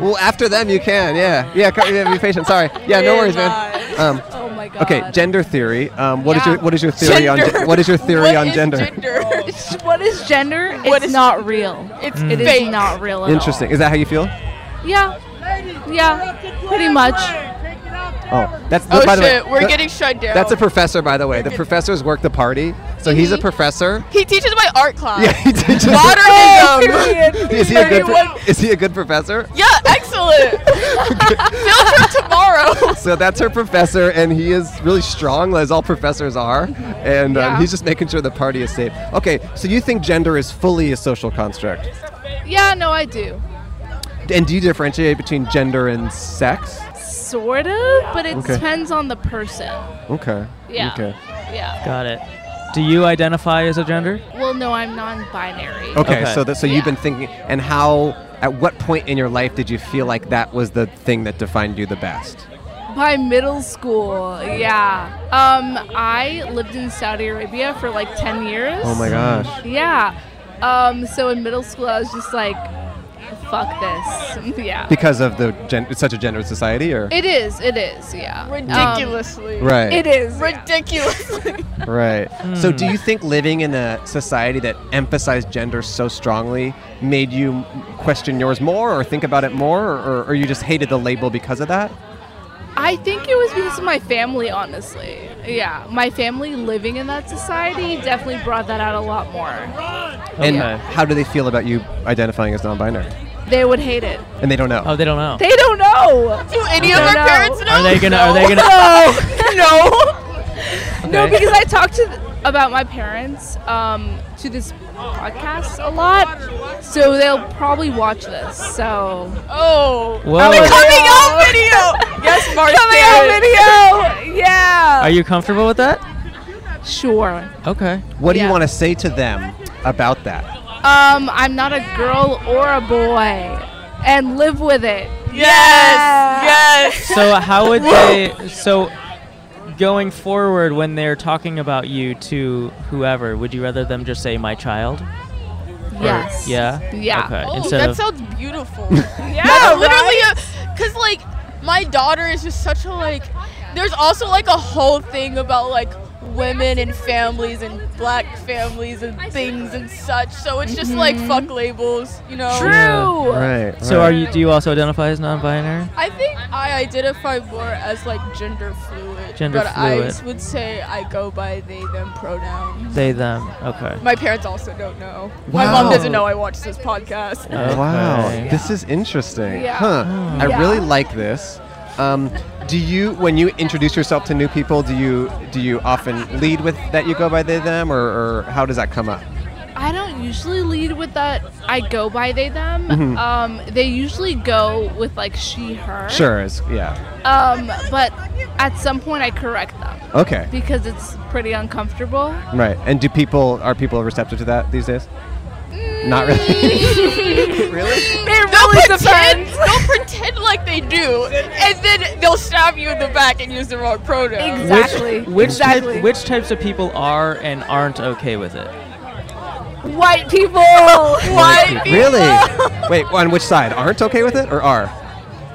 S2: well, after them you can. Yeah. Yeah. Come, yeah be patient. Sorry. Yeah. No worries, man. Um,
S11: oh my god.
S2: okay. Gender theory. Um, what is
S11: Yeah.
S2: your What is your theory on
S12: Gender.
S2: ge- What is your theory
S12: What
S2: on
S12: is
S2: gender?
S11: <laughs> What is gender?
S12: What
S11: it's
S12: is-
S11: not real.
S12: It's
S3: Mm.
S11: It is
S12: fake.
S11: not real at
S2: Interesting. Is that how you feel?
S11: all. Yeah. Yeah. Pretty much.
S2: Oh, that's
S12: Oh
S2: by the
S12: shit,
S2: way,
S12: we're
S2: that-
S12: getting shut down.
S2: That's a professor, by the way. The professors work the party, so he's a
S12: Mhm.
S2: professor. <laughs>
S12: he teaches my art class.
S2: Yeah, he teaches. <laughs>
S12: Modernism.
S2: Is he a good?
S12: Everyone-
S2: Pro- is he a good professor?
S12: yeah, excellent. Field trip tomorrow.
S2: <laughs> So that's her professor, and he is really strong, as all professors are, and um,
S11: Yeah.
S2: he's just making sure the party is safe. Okay, so you think gender is fully a social construct,
S11: Yeah, no, I do.
S2: and do you differentiate between gender and sex?
S11: Sort of, but it
S2: Okay.
S11: depends on the person.
S2: Okay.
S11: Yeah.
S2: Okay.
S11: Yeah.
S3: Got it. Do you identify as a gender?
S11: Well, no, I'm non-binary.
S2: Okay.
S3: Okay.
S2: So that so you've been thinking, and how? At what point in your life did you feel like that was the thing that defined you the best?
S11: By middle school, yeah. Um, I lived in Saudi Arabia for like 10 years.
S2: Oh my gosh.
S11: Yeah. Um, so in middle school, I was just like, fuck this. <laughs> Yeah.
S2: Because of the gen- it's such a gendered society, or
S11: It is. It is. Yeah. Um,
S12: Ridiculously.
S2: right?
S11: it is. yeah.
S12: Ridiculously.
S2: Right. So,
S3: Hmm.
S2: do you think living in a society that emphasized gender so strongly made you question yours more, or think about it more, or, or you just hated the label because of that?
S11: I think it was because of my family, honestly. Yeah. My family living in that society definitely brought that out a lot more.
S2: And
S3: Okay.
S2: how do they feel about you identifying as non-binary?
S11: They would hate it.
S2: And they don't know.
S3: Oh, they don't know.
S11: They don't know.
S12: Do any of
S11: Okay.
S12: our
S11: No.
S12: parents know?
S3: Are they gonna? Are
S12: <laughs>
S3: they
S2: <laughs>
S3: gonna?
S11: No. <laughs> no. No,
S3: Okay.
S11: because I talk to th- about my parents um, to this podcast a lot, so they'll probably watch this. So
S12: Oh.
S3: Whoa.
S12: The coming out video. Yes, March.
S11: coming out video,
S12: <laughs>
S11: yeah.
S3: Are you comfortable with that?
S11: sure.
S3: Okay.
S2: what do you
S11: yeah.
S2: want to say to them about that?
S11: Um, I'm not a girl or a boy, and live with it.
S12: Yes. Yes.
S3: So how would they? So going forward, when they're talking about you to whoever, would you rather them just say "my child"? Or-
S11: Yes.
S3: Yeah.
S11: Yeah.
S3: Okay.
S12: Oh,
S3: Instead
S12: that
S3: of
S12: sounds
S3: <laughs>
S12: beautiful. That's literally because like my daughter is just such a like. There's also like a whole thing about like women and families and black families and things and such. So it's just like
S3: Mm-hmm.
S12: fuck labels, you know.
S11: True.
S2: Right.
S3: so are you? Do you also identify as non-binary?
S12: I think I identify more as like gender fluid.
S3: Gender
S12: but
S3: fluid.
S12: I would say I go by they them pronouns.
S3: They them. Okay.
S12: My parents also don't know. My mom
S2: Wow.
S12: doesn't know I watch this podcast.
S3: Oh,
S2: Wow,
S3: Okay.
S2: this is interesting.
S11: Yeah.
S2: Huh. I
S11: Yeah.
S2: really like this. Um, do you, when you introduce yourself to new people, do you do you often lead with that you go by they them, or, or how does that come up?
S11: I don't usually lead with that I go by they them.
S2: Mhm.
S11: Um, they usually go with like she her.
S2: Sure is. Yeah.
S11: Um, but at some point I correct them.
S2: Okay.
S11: Because it's pretty
S2: <laughs>
S11: uncomfortable.
S2: Right. And do people are people receptive to that these days?
S11: Mm.
S2: Not really. <laughs>
S12: It
S11: really
S12: don't pretend, Don't pretend like they do, and then they'll stab you in the back and use the wrong pronoun.
S3: Which, which, Type, which types of people are and aren't okay with it?
S11: White people.
S12: White people.
S2: really? Wait, on which side? Aren't okay with it or are?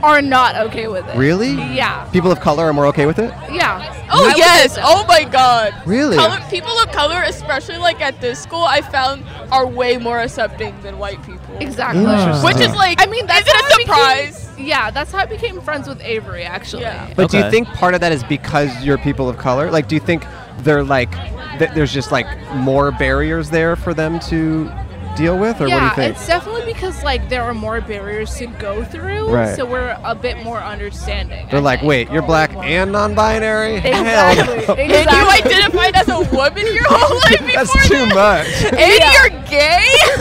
S11: Are not okay with it.
S2: Really?
S11: Yeah.
S2: People of color are more okay with it?
S11: Yeah.
S12: Oh yes! Oh my God!
S2: Really?
S12: Color, people of color, especially like at this school, I found are way more accepting than white people.
S11: Exactly.
S2: Interesting.
S12: Which is like,
S11: I mean, that's
S12: is it
S11: how
S12: a surprise?
S11: I became, yeah, that's how I became friends with Avery actually.
S2: But do you
S11: Okay.
S2: think part of that is because you're people of color? Like, do you think they're like, th- there's just like more barriers there for them to deal with, or
S11: yeah,
S2: what do you think?
S11: it's definitely because like there are more barriers to go through,
S2: Right.
S11: so we're a bit more understanding.
S2: They're like, wait, you're black and non-binary? <laughs>
S11: Exactly,
S2: Hell no.
S11: exactly.
S12: and you identified as a woman your whole life,
S2: That's too <laughs> much.
S12: and you're gay.
S2: <laughs>
S11: <laughs>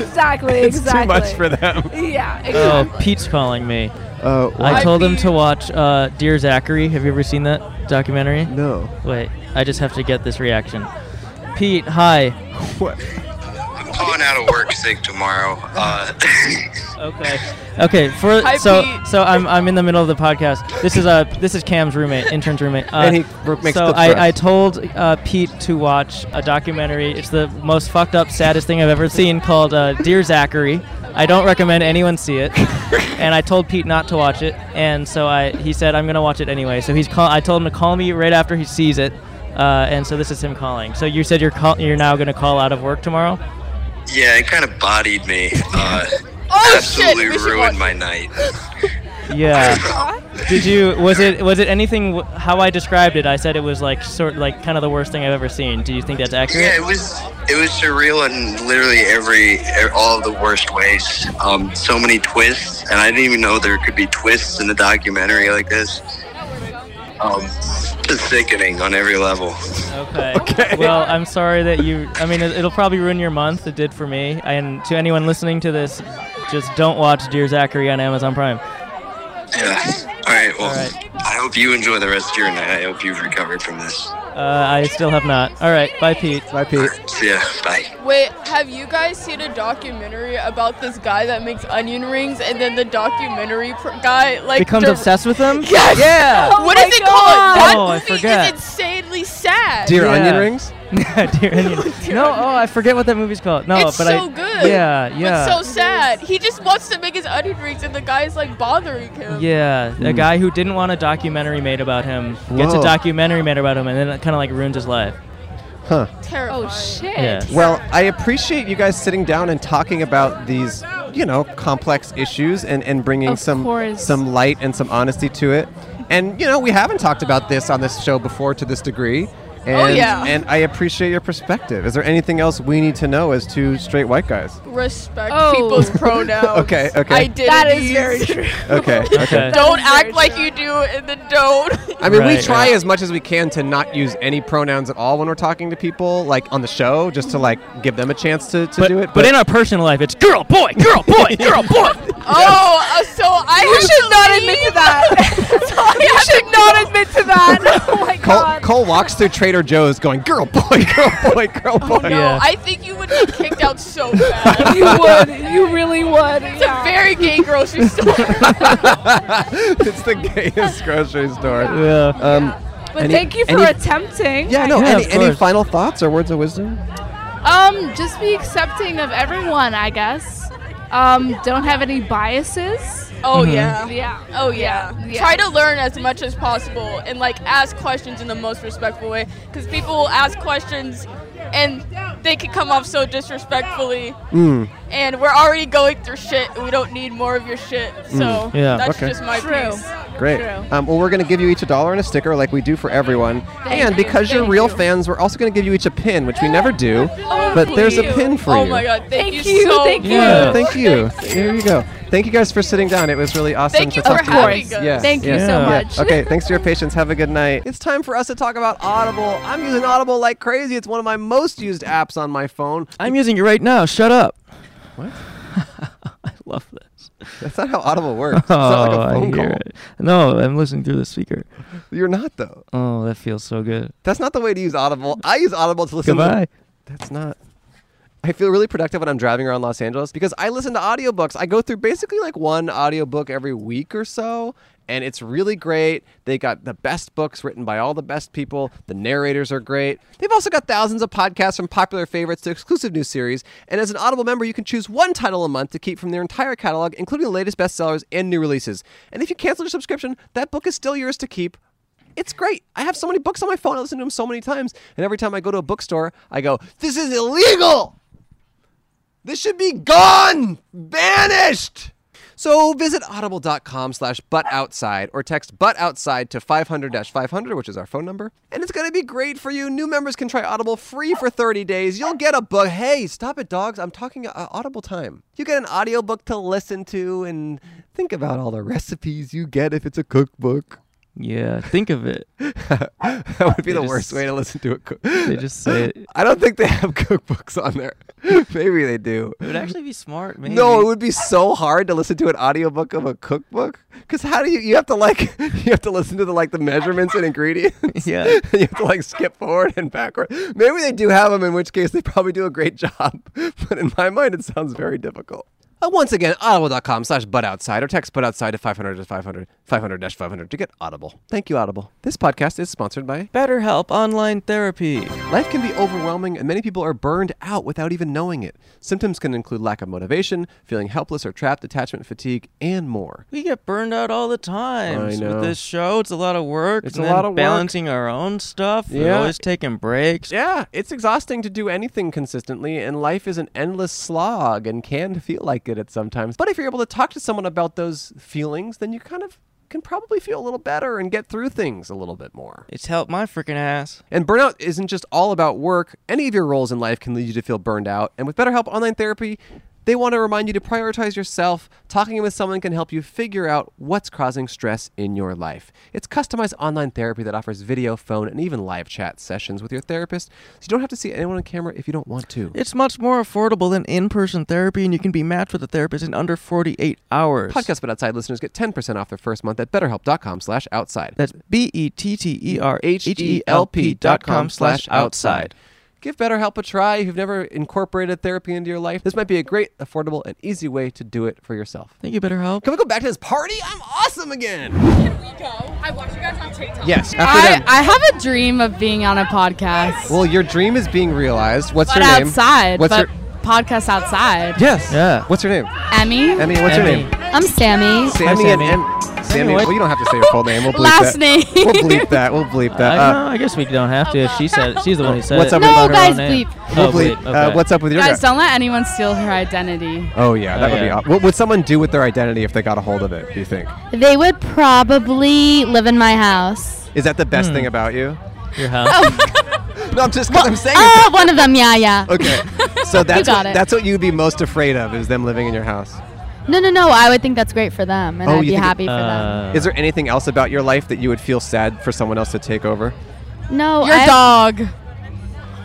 S11: exactly,
S2: it's
S11: exactly.
S2: too much for them.
S11: Yeah,
S13: <laughs>
S3: Oh, Pete's calling me.
S2: Oh,
S3: I
S2: why?
S3: told him to watch uh, Dear Zachary. Have you ever seen that documentary?
S2: No.
S3: Wait, I just have to get this reaction. Pete, hi.
S2: <laughs> What?
S13: I'm calling out of work sick tomorrow. Uh, <laughs>
S3: okay. Okay, for
S13: Hi,
S3: so
S13: Pete.
S3: so I'm, I'm in the middle of the podcast. This is uh this is Cam's
S2: <laughs>
S3: roommate, intern's roommate. Uh,
S2: And he r- makes
S3: so
S2: clips for us.
S3: I, I told uh, Pete to watch a documentary. It's the most fucked up, saddest thing I've ever seen called uh, Dear Zachary. I don't recommend anyone see
S2: <laughs>
S3: it. and I told Pete not to watch it, and so I he said I'm gonna watch it anyway. So he's call I told him to call me right after he sees it. Uh, and so this is him calling. So you said you're call- you're now gonna call out of work tomorrow.
S13: yeah, it kind of bodied me. Uh, absolutely ruined my night. <laughs>
S3: Yeah. Did you? Was it? Was it anything? w- How I described it? I said it was like sort like kind of the worst thing I've ever seen. Do you think that's accurate?
S13: Yeah, it was it was surreal in literally every e, all of the worst ways. Um, so many twists, and I didn't even know there could be twists in a documentary like this. Um, just sickening on every level.
S3: Okay. <laughs> Well, I'm sorry that you. I mean, it, it'll probably ruin your month. It did for me. And to anyone listening to this, just don't watch Dear Zachary on Amazon Prime.
S13: Yeah. All right. Well, I hope you enjoy the rest of your night. I hope you've recovered from this.
S3: Uh, I still have not. All right. Bye, Pete.
S2: Bye, Pete.
S13: See ya. Bye.
S12: Wait, have you guys seen a documentary about this guy that makes onion rings, and then the documentary pr- guy like
S3: Becomes
S12: dir-
S3: obsessed with them.
S12: Yes. Oh
S3: Yeah.
S11: Oh
S12: What is it called? That
S3: Oh, I
S12: movie
S3: forget.
S12: is insanely sad.
S3: Yeah.
S2: rings?
S3: <laughs> Dear onion.
S12: <laughs>
S3: No. Oh, I forget what that movie's called. No,
S12: it's
S3: but
S12: so
S3: I.
S12: good.
S3: Yeah. Yeah.
S12: But so sad. He just wants to make his onion rings, and the guy's like bothering him.
S3: Yeah, a
S2: Mm.
S3: guy who didn't want a documentary made about him gets a
S2: Whoa.
S3: documentary made about him, and then it kind of like ruins his life.
S2: Huh.
S12: Terrifying.
S11: Oh shit.
S3: Yeah.
S2: Well, I appreciate you guys sitting down and talking about these, you know, complex issues and, and bringing
S11: Of
S2: some
S11: course.
S2: some light and some honesty to it. And you know, we haven't talked about this on this show before to this degree. And,
S12: yeah.
S2: and I appreciate your perspective. Is there anything else we need to know as two straight white guys?
S12: Respect
S11: <laughs>
S12: people's pronouns.
S2: <laughs> Okay, okay.
S12: Identities.
S11: Oh. That is very
S12: <laughs>
S11: true.
S2: Okay, okay.
S12: Oh, Don't act like you do, and then don't.
S2: I mean, we try as much as we can to not use any pronouns at all when we're talking to people, like on the show, just to like give them a chance to, to do it.
S3: But in our personal life, it's girl, boy, girl,
S2: <laughs>
S3: boy, girl, boy.
S12: Oh, uh, so I
S11: You
S12: have
S11: should
S12: to
S11: not
S12: leave.
S11: admit to that. <laughs>
S12: <laughs> So I
S11: You
S12: have to
S11: should not admit to that. Oh my
S2: Cole,
S11: god.
S2: Cole walks through Trader Joe's going, girl, boy, girl, boy, girl,
S11: Oh,
S2: boy.
S12: No, I think you would get kicked out so fast.
S11: You would. You really would.
S12: It's a very gay
S11: <laughs>
S12: grocery store.
S2: <laughs> it's the gayest grocery store.
S3: Yeah.
S2: Um,
S11: But
S2: any-
S11: thank you for
S2: any-
S11: attempting.
S2: Yeah, no.
S3: Yeah,
S2: any,
S3: of
S2: any
S3: course.
S2: final thoughts or words of wisdom?
S11: Um, just be accepting of everyone, I guess. Um, don't have any biases.
S12: Oh
S2: Mm-hmm.
S12: yeah.
S11: Yeah.
S12: Oh yeah.
S11: Yeah.
S12: Try to learn as much as possible and like ask questions in the most respectful way cuz people will ask questions and they can come off so disrespectfully
S2: Mm.
S12: and we're already going through shit and we don't need more of your shit. So
S2: Mm. Yeah.
S12: that's
S2: Okay.
S12: just my
S11: True.
S12: piece.
S2: Great. Um, well, we're going to give you each a dollar and a sticker like we do for everyone.
S12: Thank
S2: and
S12: you,
S2: because you're
S12: thank
S2: real fans, we're also going to give you each a pin, which we never do. but there's a pin for
S12: oh
S2: you.
S12: my god, thank, you,
S11: you,
S12: so
S11: thank
S12: much.
S2: Yeah, thank you. There you go. Thank you guys for sitting down. It was really awesome
S12: Thank
S2: to
S12: you
S2: talk
S12: for
S2: to you.
S12: having us.
S2: Yes,
S12: Thank you
S2: yes,
S12: so
S2: yeah.
S12: much.
S2: Okay, thanks for your patience. Have a good night. It's time for us to talk about Audible. I'm using Audible like crazy. It's one of my most used apps on my phone.
S3: I'm using it right now. Shut up.
S2: What?
S3: I love this.
S2: That's not how Audible works. It's not like
S3: Oh, I
S2: a phone
S3: hear
S2: call.
S3: it. No, I'm listening through the speaker.
S2: You're not though.
S3: Oh, that feels so good.
S2: That's not the way to use Audible. I use Audible to listen.
S3: Goodbye.
S2: To, that's not. I feel really productive when I'm driving around Los Angeles because I listen to audiobooks. I go through basically like one audiobook every week or so, and it's really great. They got the best books written by all the best people. The narrators are great. They've also got thousands of podcasts from popular favorites to exclusive new series. And as an Audible member, you can choose one title a month to keep from their entire catalog, including the latest bestsellers and new releases. And if you cancel your subscription, that book is still yours to keep it's great. I have so many books on my phone. I listen to them so many times. And every time I go to a bookstore, I go, this is illegal. This should be gone, banished. So visit audible.com slash butt outside or text butt outside to 500 500, which is our phone number. And it's going to be great for you. New members can try Audible free for 30 days. You'll get a book. Hey, stop it, dogs. I'm talking uh, Audible time. You get an audiobook to listen to and think about all the recipes you get if it's a cookbook.
S3: Yeah, think of it.
S2: <laughs> that would
S3: They
S2: be the
S3: just-
S2: worst way to listen to a cook.
S3: They just say it.
S2: <laughs> I don't think they have cookbooks on there. <laughs> maybe they do.
S3: It would actually be smart, maybe.
S2: <laughs> No, it would be so hard to listen to an audiobook of a cookbook cuz how do you you have to like <laughs> you have to listen to the like the measurements and ingredients.
S3: Yeah.
S2: <laughs> you have to like skip forward and backward. Maybe they do have them in which case they probably do a great <laughs> job, but in my mind it sounds very difficult. Uh, once again, audible.com slash buttoutside or text buttoutside to 500 to 500, 500 dash 500 to get Audible. Thank you, Audible. This podcast is sponsored by
S3: BetterHelp Online Therapy.
S2: Life can be overwhelming, and many people are burned out without even knowing it. Symptoms can include lack of motivation, feeling helpless or trapped, attachment fatigue, and more.
S3: We get burned out all the time
S2: I know.
S3: with this show. It's a lot of work.
S2: It's
S3: and
S2: a
S3: then
S2: lot of work.
S3: balancing our own stuff. We're
S2: Yeah.
S3: always taking breaks.
S2: Yeah, it's exhausting to do anything consistently, and life is an endless slog and can feel like it at sometimes. But if you're able to talk to someone about those feelings, then you kind of can probably feel a little better and get through things a little bit more.
S3: It's helped my freaking ass.
S2: And burnout isn't just all about work. Any of your roles in life can lead you to feel burned out. And with BetterHelp Online Therapy, they want to remind you to prioritize yourself. Talking with someone can help you figure out what's causing stress in your life. It's customized online therapy that offers video, phone, and even live chat sessions with your therapist. So you don't have to see anyone on camera if you don't want to.
S3: It's much more affordable than in person therapy, and you can be matched with a therapist in under 48 hours.
S2: Podcast But Outside listeners get 10% off their first month at betterhelp.com slash outside.
S3: That's B E T T E R H E L P dot com
S2: BetterHelp.com
S3: slash outside.
S2: Give BetterHelp a try if you've never incorporated therapy into your life. This might be a great, affordable, and easy way to do it for yourself.
S3: Thank you, BetterHelp.
S2: Can we go back to this party? I'm awesome again.
S12: I watch you guys on TikTok.
S2: Yes, after
S14: I,
S2: them.
S14: I have a dream of being on a podcast,
S2: Well, your dream is being realized. What's
S14: but
S2: your name?
S14: outside,
S2: What's
S14: but
S2: your
S14: podcast outside.
S2: Yes. Yeah. What's your name?
S14: Emmy.
S2: Emmy, what's your name?
S14: I'm Sammy.
S2: Sammy, and Em- Sammy. Well, you don't have to say your full name. We'll bleep
S14: Last
S2: that.
S14: name.
S2: We'll bleep that. We'll bleep that.
S15: I,
S2: Uh,
S15: no, I guess we don't have to if she said it. She's the one who said
S2: What's
S15: it.
S2: up
S15: About
S2: with
S15: her
S14: guys,
S15: own name.
S14: bleep.
S2: We'll
S15: Oh,
S2: bleep.
S15: bleep.
S2: Uh,
S15: okay.
S2: what's up with your
S14: Guys,
S2: guy?
S14: don't let anyone steal her identity.
S2: Oh yeah, that
S15: Oh,
S2: would be.
S15: yeah.
S2: Awesome. What would someone do with their identity if they got a hold of it? Do you think?
S16: They would probably live in my house.
S2: Is that the best thing about you?
S15: Hmm.
S2: <laughs>
S15: Your
S2: no, I'm just because I'm saying. it.
S16: Oh, one of them, yeah, yeah.
S2: Okay, so
S16: You
S2: that's
S16: got
S2: what,
S16: it.
S2: that's what you'd be most afraid of is them living in your house.
S16: No, no, no. I would think that's great for them, and I'd
S2: Oh, you
S16: be
S2: think- Uh,
S16: happy for them.
S2: Is there anything else about your life that you would feel sad for someone else to take over?
S16: No,
S14: your
S16: I-
S14: dog.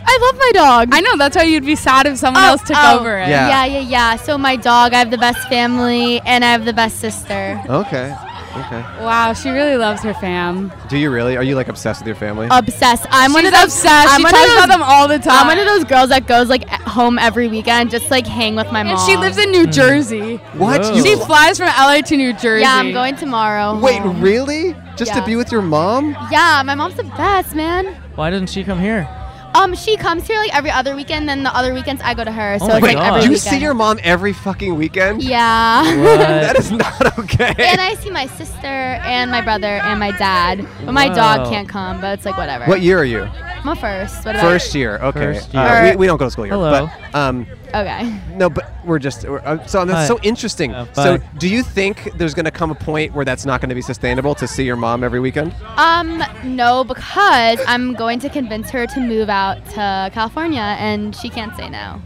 S16: I love my dog. Oh,
S14: I know that's why you'd be sad if someone else took over it.
S2: Yeah.
S16: yeah, yeah, yeah. So my dog, I have the best family, and I have the best sister.
S2: Okay, okay.
S14: Wow, she really loves her fam.
S2: Do you really? Are you like obsessed with your family?
S16: Obsessed. I'm one
S14: She's
S16: of those.
S14: obsessed.
S16: I'm
S14: She
S16: one
S14: talks
S16: of those,
S14: about them all the
S16: I'm one
S14: time.
S16: of those girls that goes like at home every weekend, just like hang with my
S14: And
S16: mom.
S14: she lives in New Jersey.
S2: What? Whoa. You
S14: She
S2: fl-
S14: flies from LA to New Jersey.
S16: Yeah, I'm going tomorrow.
S2: Wait,
S16: home.
S2: really? Just to
S16: Yeah.
S2: be with your mom?
S16: Yeah, my mom's the best, man.
S15: Why doesn't she come here?
S16: Um, she comes here like every other weekend. Then the other weekends I go to her.
S2: Oh
S16: So
S15: my
S16: it's like
S15: God.
S16: every
S2: you
S16: weekend.
S2: see your mom every fucking weekend?
S16: Yeah.
S2: <laughs> that is not okay. <laughs>
S16: and I see my sister and my brother and my dad, but my
S2: Wow.
S16: dog can't come. But it's like whatever.
S2: What year are you?
S16: I'm a first. What about
S2: First year, okay.
S16: First
S2: Uh,
S16: year.
S2: we, we don't go to school year.
S16: Hello.
S2: But, um,
S16: Okay.
S2: No, but we're just we're, uh, so. That's
S16: Hi.
S2: so interesting.
S16: Uh,
S2: so,
S16: bye.
S2: do you think there's going to come a point where that's not going to be sustainable to see your mom every weekend?
S16: Um, no, because I'm going to convince her to move out to California, and she can't say no.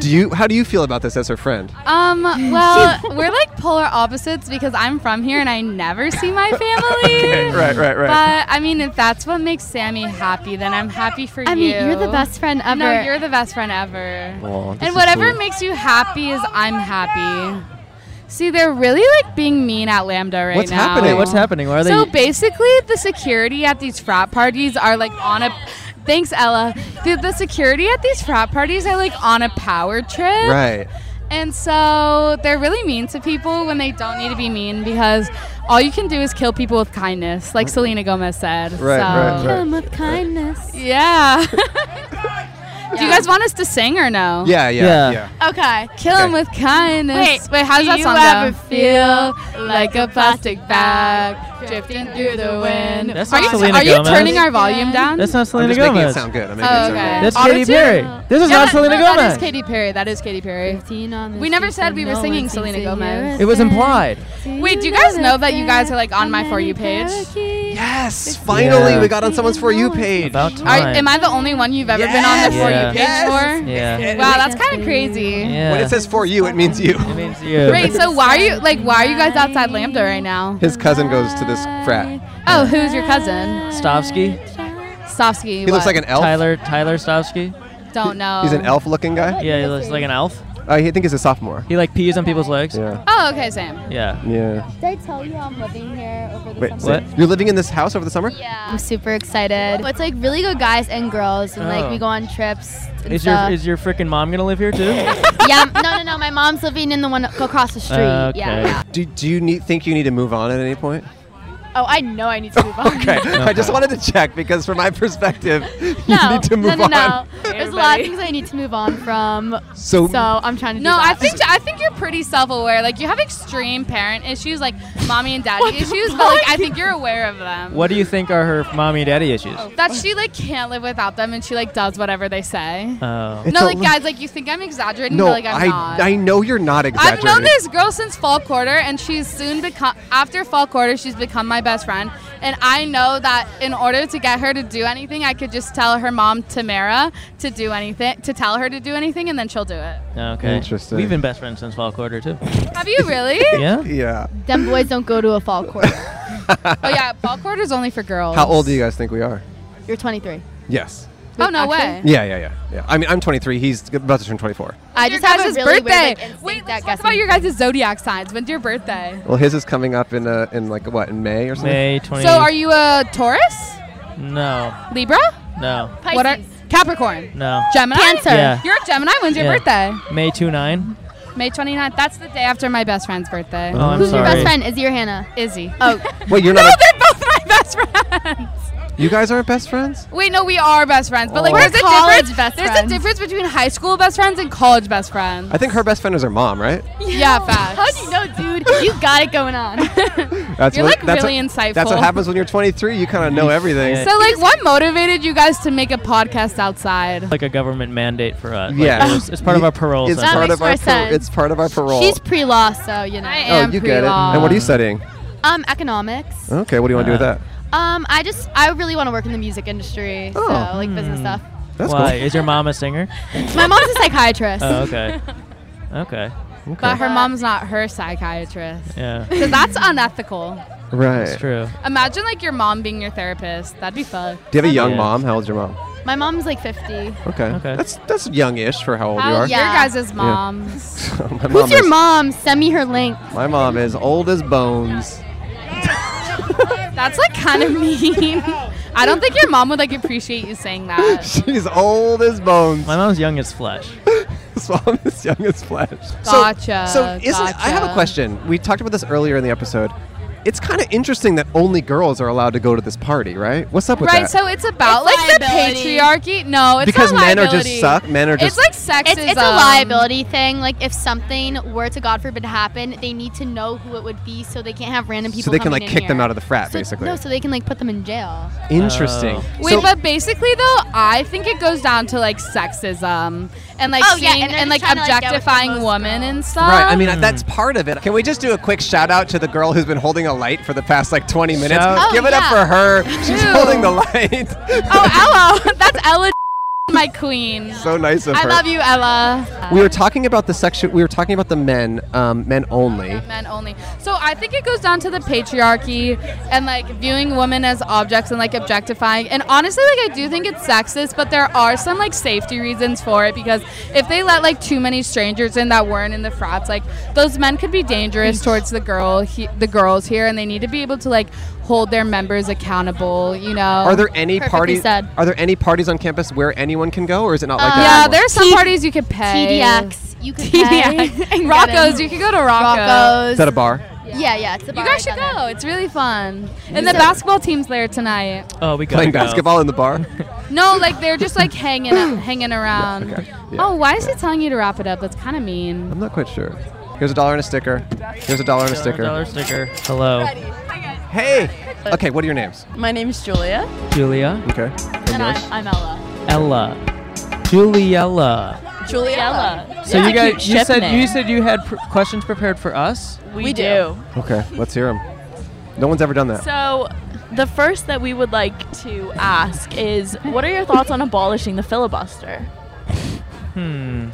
S2: Do you? How do you feel about this as her friend?
S14: Um, well, we're like polar opposites because I'm from here and I never see my family.
S2: Okay, right, right, right.
S14: But I mean, if that's what makes Sammy happy, then I'm happy for you.
S16: I mean, you're the best friend ever.
S14: No, you're the best friend ever.
S2: Aw, this
S14: and
S2: is
S14: whatever
S2: sweet.
S14: makes you happy is I'm happy. See, they're really like being mean at Lambda right
S3: what's
S14: now.
S3: happening? what's happening? Why Are they? e-,
S14: So basically, the security at these frat parties are like on a. Thanks, Ella. The, the security at these frat parties are like on a power trip.
S2: Right.
S14: And so they're really mean to people when they don't need to be mean because all you can do is kill people with kindness, like Selena Gomez said.
S16: Right,
S14: so.
S16: right, Kill right. 'em with kindness.
S14: Yeah. Do you guys want us to sing or no?
S2: Yeah, yeah, Yeah. yeah.
S14: Okay. Kill 'em with kindness.
S17: Wait,
S14: wait, how does
S17: do
S14: that
S17: you
S14: song
S17: ever
S14: go?
S17: feel like a plastic
S14: bag drifting through the wind?
S3: That's
S14: are
S3: not
S14: you,
S3: Selena
S14: are you
S3: Gomez.
S14: turning our volume down?
S3: That's not Selena
S2: just
S3: Gomez.
S2: making it sound good. I'm making it
S14: Oh,
S2: sound
S14: okay.
S2: good.
S3: That's
S14: Auto-tune?
S3: Katy Perry. This is
S14: No,
S3: not
S14: that-
S3: Selena
S14: no, That
S3: Gomez.
S14: is Katy Perry. That is Katy Perry. We never said we were
S16: no one
S14: singing
S16: seems
S14: Selena
S16: to hear
S14: Gomez.
S3: it was implied.
S14: Wait, do you guys know that you guys are like on my For You page?
S2: Yes, finally
S3: Yeah.
S2: we got on someone's for you page.
S3: About
S14: Are,
S3: time.
S14: am I the only one you've ever been on the For
S3: Yeah.
S14: You page for?
S3: Yeah.
S14: Wow, that's kind of crazy.
S2: When it says for you, it means you. It
S3: means
S2: you.
S14: Wait, so why are you like why are you guys outside Lambda right now?
S2: His cousin goes to this frat.
S14: Oh, who's your cousin?
S3: Stavsky.
S14: Sofsky.
S2: He looks like an elf.
S3: Tyler Tyler Stavsky.
S14: Don't know.
S2: He's an elf-looking guy.
S3: Yeah, he looks like an elf.
S2: Uh, I think he's a sophomore.
S3: He like pees on people's legs. Yeah.
S14: Oh, okay, Sam.
S3: Yeah.
S2: Yeah.
S16: Did I tell you I'm living here over the
S2: Wait, so you're living in this house over the summer?
S16: Yeah. I'm super excited. It's like really good guys and girls, and
S3: Oh.
S16: like we go on trips. And
S3: Is your
S16: stuff.
S3: is your freaking mom gonna live here too?
S2: <laughs>
S16: <laughs> yeah, no, no, no. My mom's living in the one across the street.
S2: Uh,
S16: Yeah.
S2: Do, do you need think you need to move on at any point?
S16: Oh, I know I need to move on.
S2: <laughs>
S16: <laughs>
S2: Okay. I just wanted to check because from my perspective, you need to move
S16: no, no, no.
S2: on.
S16: There's a lot of things I need to move on from.
S2: So-
S16: So, I'm trying to.
S14: No,
S16: do
S14: I
S16: that.
S14: think I think you're pretty self-aware. Like you have extreme parent issues, like mommy and daddy issues, but like I think you're aware of them.
S3: What do you think are her mommy and daddy issues?
S14: That she like can't live without them, and she like does whatever they say.
S3: Oh.
S14: no, like guys, like you think I'm exaggerating,
S2: No,
S14: but like I'm
S2: I
S14: not.
S2: I know you're not
S14: I've
S2: exaggerating.
S14: known this girl since fall quarter, and she's soon become after fall quarter, she's become my best friend. And I know that in order to get her to do anything, I could just tell her mom Tamara to do anything, to tell her to do anything, and then she'll do it.
S3: Okay.
S2: Interesting.
S3: We've been best friends since fall quarter <laughs> too.
S14: Have you really?
S3: yeah.
S2: <laughs> Yeah.
S16: Them boys don't go to a fall quarter.
S14: <laughs> Oh yeah, fall quarter is only for girls.
S2: How old do you guys think we are?
S16: You're 23.
S2: Yes.
S14: Oh no way.
S2: Yeah, yeah, yeah, yeah. I mean, I'm 23. He's about to turn 24.
S14: I
S16: just have a really weird, like,
S14: Wait, let's talk about your guys' zodiac signs. When's your birthday?
S2: Well, his is coming up in uh, in like what in May or something.
S3: May 20.
S14: So are you a Taurus,
S3: No.
S14: Libra,
S3: No.
S14: What are Capricorn,
S3: No.
S14: Gemini,
S3: Cancer. Yeah.
S14: You're a Gemini. When's your
S3: Yeah.
S14: birthday?
S3: May 29.
S14: May 29th. That's the day after my best friend's birthday.
S3: Oh, I'm Who's your sorry. best friend?
S16: Izzy or Hannah?
S14: Izzy.
S16: Oh.
S2: Wait, you're
S14: no,
S2: not.
S14: they're both my best friends.
S2: You guys aren't best friends.
S14: Wait, no, <laughs> we are best friends. But like,
S2: We're
S14: there's a
S16: college
S14: difference.
S16: best
S14: there's
S16: friends.
S14: a difference between high school best friends and college best friends.
S16: <laughs>
S2: I think her best friend is her mom, right?
S14: Yeah, facts.
S16: How do you know, dude? You got it going on.
S2: That's
S14: You're,
S2: what,
S14: like,
S2: that's
S14: really
S2: what-
S14: insightful.
S2: That's what happens when you're 23. You kind of know everything.
S14: So like, what motivated you guys to make a podcast outside?
S3: Like a government mandate for us. Like,
S2: Yeah.
S3: it was- it's part of our parole.
S2: It's
S3: sentence.
S2: part of our
S16: makes more
S2: par-
S16: sense.
S2: it's part of our parole.
S16: She's pre-law, so you know. I
S2: oh, you get it. And what are you studying?
S16: Um, economics.
S2: Okay, what do you want to do with
S3: Uh,
S2: that?
S16: Um, I just I really want to work in the music industry, so
S2: Oh,
S16: like business
S2: hmm.
S16: stuff.
S2: That's
S3: Why?
S2: cool.
S3: Is your mom a singer?
S16: My mom's a psychiatrist.
S3: oh,
S18: <laughs>
S3: okay. Okay. Okay.
S14: But her mom's not her psychiatrist.
S3: Yeah.
S14: Because that's unethical.
S2: Right.
S3: It's true.
S14: Imagine like your mom being your therapist. That'd be fun.
S2: Do you have a young
S3: Yeah.
S2: mom? How old's your mom?
S16: My mom's like 50.
S2: Okay. Okay. That's that's youngish for how old you
S16: How-
S2: are.
S16: yeah.
S14: Your guys'
S2: Yeah.
S14: moms.
S2: So <laughs> my
S16: Who's
S2: mom
S16: your
S2: is,
S16: mom? Send me her link.
S2: My mom is old as bones. <laughs>
S14: That's like kind of <laughs> mean. I don't think your mom would like appreciate you saying that.
S2: She's old as bones.
S3: My mom's young as
S2: <laughs>
S3: flesh.
S2: My mom is young as flesh.
S14: Gotcha,
S2: So, so isn't I have a
S14: gotcha.
S2: question. We talked about this earlier in the episode. It's kind of interesting that only girls are allowed to go to this party, right? What's up with
S14: right,
S2: that?
S14: so it's about
S16: It's
S14: like
S16: liability.
S14: the patriarchy. No, it's
S2: because
S14: not
S2: men are
S14: liability.
S2: just suck. Men are
S16: It's
S2: just
S16: like sexism. It's, it's a
S14: sexism.
S16: liability thing. Like if something were to God forbid happen, they need to know who it would be, so they can't have random people.
S2: so they can
S16: coming
S2: like
S16: in
S2: kick them
S16: here.
S2: out of the frat,
S16: So-
S2: basically.
S16: No, so they can like put them in jail.
S14: oh.
S2: Interesting.
S14: Wait,
S2: So-
S14: but basically though, I think it goes down to like sexism and like
S16: Oh, yeah,
S14: seeing
S16: and they're
S14: and like
S16: just trying to, like, get with the
S14: objectifying women and stuff.
S2: Right, I mean uh, that's part of it. Can we just
S14: Hmm.
S2: do a quick shout out to the girl who's been holding a light for the past like 20 minutes?
S14: Shout- Oh,
S2: Give it up
S14: yeah.
S2: for
S14: <laughs>
S2: her. She's
S14: Ew.
S2: holding the light. <laughs>
S14: oh, Ella, <laughs> that's Ella, my queen.
S2: so nice of
S14: I
S2: her.
S14: love you, Ella.
S2: We were talking about the section. We were talking about the men, um, men only.
S14: men only. So I think it goes down to the patriarchy and like viewing women as objects and like objectifying. And honestly, like I do think it's sexist, but there are some like safety reasons for it because if they let like too many strangers in that weren't in the frats, like those men could be dangerous towards the girl, he, the girls here, and they need to be able to like hold their members accountable. You know,
S2: Are there any parties? Are there any parties on campus where anyone can go, or is it not like
S14: Uh,
S2: that?
S14: yeah,
S2: anymore?
S14: there's some parties you could pay.
S16: TDX, you
S14: <laughs>
S16: could
S14: TDX. Rocco's, you could go to Rocco's.
S2: Is that a bar?
S16: Yeah, yeah. It's a
S14: You guys should go. It's really fun. And the basketball team's there tonight.
S3: Oh, we got
S2: Playing basketball in the bar.
S14: No, like they're just like hanging hanging around.
S2: okay.
S14: Oh, why is he telling you to wrap it up? That's kind of mean.
S2: I'm not quite sure. Here's a dollar and a sticker. Here's a dollar and a sticker.
S3: Dollar sticker. Hello,
S2: Hey. Okay, what are your names?
S18: My name's Julia.
S3: Julia.
S2: Okay.
S18: And I'm, I'm Ella.
S3: Ella. Juliella.
S18: Juliella.
S3: So you guys, you said you said you had pr- questions prepared for us.
S18: we, do.
S2: Okay, let's hear them. No one's ever done that.
S18: So the first that we would like to ask is, what are your thoughts on abolishing the filibuster?
S2: Hmm.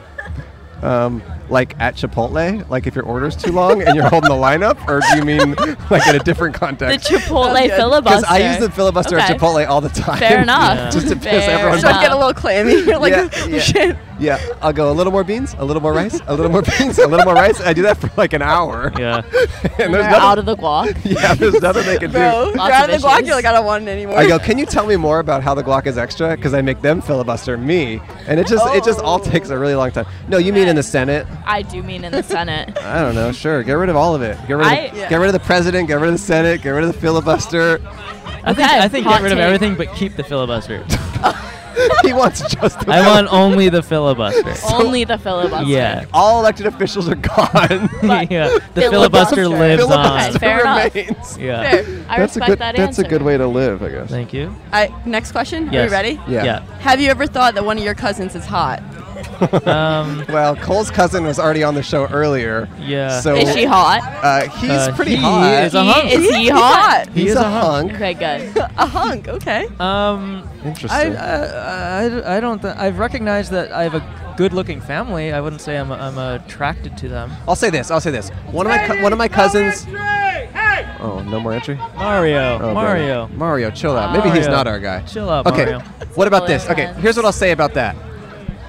S2: Um, like at Chipotle, like if your order's too long and you're holding the line up, or do you mean like in a different context?
S18: The Chipotle
S2: That's good.
S18: filibuster.
S2: I use the filibuster
S18: Okay.
S2: at Chipotle all the time. <laughs>
S18: Fair enough.
S2: Just to piss
S18: Fair
S2: everyone
S18: enough. Should I get a little clammy? <laughs> You're like,
S2: yeah, yeah. Yeah, I'll go a little more beans, a little more rice, a little more <laughs> beans, a little more rice. I do that for like an hour.
S3: Yeah.
S2: <laughs> and
S18: They're
S2: there's
S18: out
S2: nothing,
S18: of the guac.
S2: <laughs> yeah, there's nothing they can do.
S18: Bro, you're out of the guac. You're like, I don't want it anymore.
S2: I go, can you tell me more about how the guac is extra? Because I make them filibuster me, and it just it just all takes a really long time. No, you mean in the Senate?
S18: I do mean in the Senate.
S2: I don't know. Sure, get rid of all of it. Get rid of,
S18: I-
S2: the,
S18: Yeah.
S2: get rid of the president. Get rid of the Senate. Get rid of the filibuster.
S3: I think, I think
S18: hot
S3: get rid of
S18: take.
S3: everything but keep the
S2: <laughs>
S3: filibuster.
S2: he wants
S3: <laughs>
S2: <laughs> just. The
S3: I want only the filibuster.
S18: <laughs> Only the filibuster.
S3: Yeah.
S2: All elected officials are gone.
S3: <laughs> yeah. The filibuster lives
S18: Filibuster.
S3: on.
S18: <laughs> Fair enough.
S2: remains.
S3: Yeah.
S18: Fair.
S2: that's
S18: I
S2: a
S18: respect
S2: good.
S18: that
S2: that's
S18: answer.
S2: a good way to live, I guess.
S3: Thank you.
S19: I, next question. Are
S3: Yes.
S19: you ready?
S2: Yeah. Yeah.
S19: Have you ever thought that one of your cousins is hot?
S2: well, Cole's cousin was already on the show earlier.
S3: Um, Yeah.
S2: So
S19: Is she hot?
S2: Uh, he's
S3: Uh,
S2: pretty
S3: he
S2: hot.
S3: is a He- hunk.
S19: is he hot?
S2: He's a hunk.
S18: Okay, good.
S19: a hunk. Okay.
S3: Um,
S2: Interesting.
S3: I, I, I, I don't. Th- I've recognized that I have a good-looking family. I wouldn't say I'm, I'm attracted to them.
S2: I'll say this. I'll say this. One of my co- one of my cousins. Oh, no more entry. Oh,
S3: Mario.
S2: brother.
S3: Mario.
S2: Mario, chill out. Maybe he's
S3: Mario.
S2: not our guy.
S3: Chill out,
S2: Okay.
S3: Mario.
S2: What about this? Okay, here's what I'll say about that.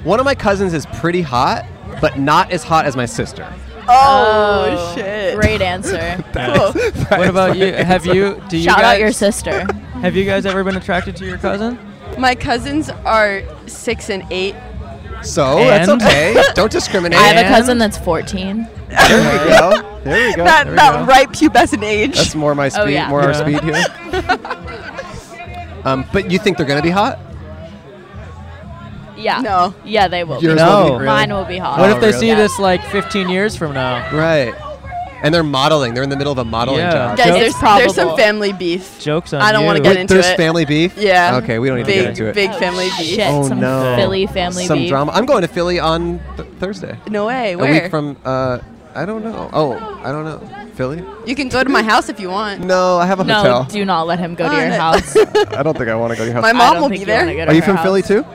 S2: One of my cousins is pretty hot, but not as hot as my sister.
S18: Oh, shit. Great answer.
S3: What about you? Have you? Do you
S18: Shout
S3: guys,
S18: out your sister.
S3: Have you guys ever been attracted to your cousin?
S19: My cousins are six and eight.
S3: And?
S2: So Oh, that's okay. Don't discriminate.
S18: I have a cousin that's 14.
S2: <laughs> There we go. There we go.
S19: That,
S2: There we
S19: that
S2: go.
S19: ripe pubescent age.
S2: That's more my speed.
S19: Oh, yeah.
S2: More our
S3: Yeah.
S2: speed
S19: <laughs>
S2: here. um, but you think they're gonna be hot?
S18: Yeah. No. Yeah, they will.
S2: Yours
S18: be.
S2: will be, really?
S18: Mine will be hot.
S3: What
S2: Oh,
S3: if they see
S2: really?
S3: this like 15 years from now?
S2: Right. And they're modeling. They're in the middle of a modeling
S3: Yeah.
S2: job.
S19: Guys,
S3: Jokes-
S19: there's, there's some
S18: probable.
S19: family beef.
S3: Jokes on
S19: I don't
S3: you.
S19: wanna
S2: Wait,
S19: get into
S2: there's
S19: it.
S2: family beef.
S19: Yeah.
S2: Okay, we don't need
S19: Big-
S2: to get into it.
S19: big family beef.
S18: Shit,
S2: oh
S18: some
S2: no,
S18: Philly family
S2: Some
S18: beef.
S2: drama. I'm going to Philly on th- Thursday.
S19: No way.
S2: A
S19: Where?
S2: week from. Uh, I don't know. Oh, I don't know. Philly?
S19: you can go to my house if you want.
S2: No, I have a
S18: No,
S2: hotel.
S18: do not let him go to
S19: Oh,
S18: your
S19: no. <laughs>
S18: house.
S2: I don't think I want to go to your house.
S19: My
S18: I
S19: mom
S18: don't
S19: will
S18: think
S19: be
S18: you
S19: there.
S18: wanna go to
S2: Are you
S18: her
S2: from
S18: house.
S2: Philly too?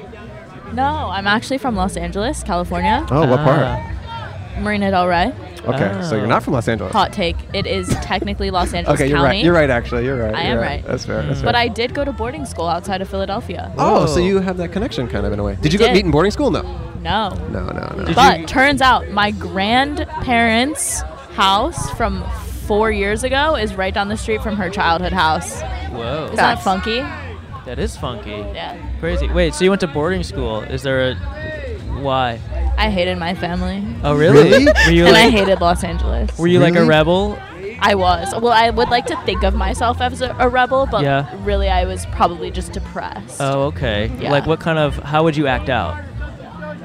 S18: No, I'm actually from Los Angeles, California. Uh,
S2: Oh, what
S3: Ah.
S2: part?
S18: Marina Del Rey.
S2: Okay, so you're not from Los Angeles.
S18: Hot take.
S2: <laughs>
S18: It is technically Los Angeles
S2: Okay, you're
S18: County.
S2: right. You're right. Actually, you're right.
S18: I
S2: you're
S18: am
S2: right.
S18: right.
S2: That's fair. That's fair.
S18: But I did go to boarding school outside of Philadelphia.
S2: Oh, so you have that connection kind of in a way. Did you go
S18: did.
S2: meet in boarding school? No.
S18: No.
S2: No, no, no.
S18: But turns out my grandparents' house from four years ago is right down the street from her childhood house.
S3: Whoa.
S18: Isn't that funky?
S3: That is funky.
S18: Yeah.
S3: Crazy. Wait, so you went to boarding school? Is there a why?
S18: I hated my family.
S3: Oh, really?
S2: Really?
S3: Were you
S18: and
S3: like
S18: I hated Los Angeles.
S3: Were you like a
S2: Really?
S3: rebel?
S18: I was. Well, I would like to think of myself as a, a rebel, but
S3: Yeah.
S18: really I was probably just depressed.
S3: Oh, okay.
S18: Yeah.
S3: Like, what kind of? How would you act out?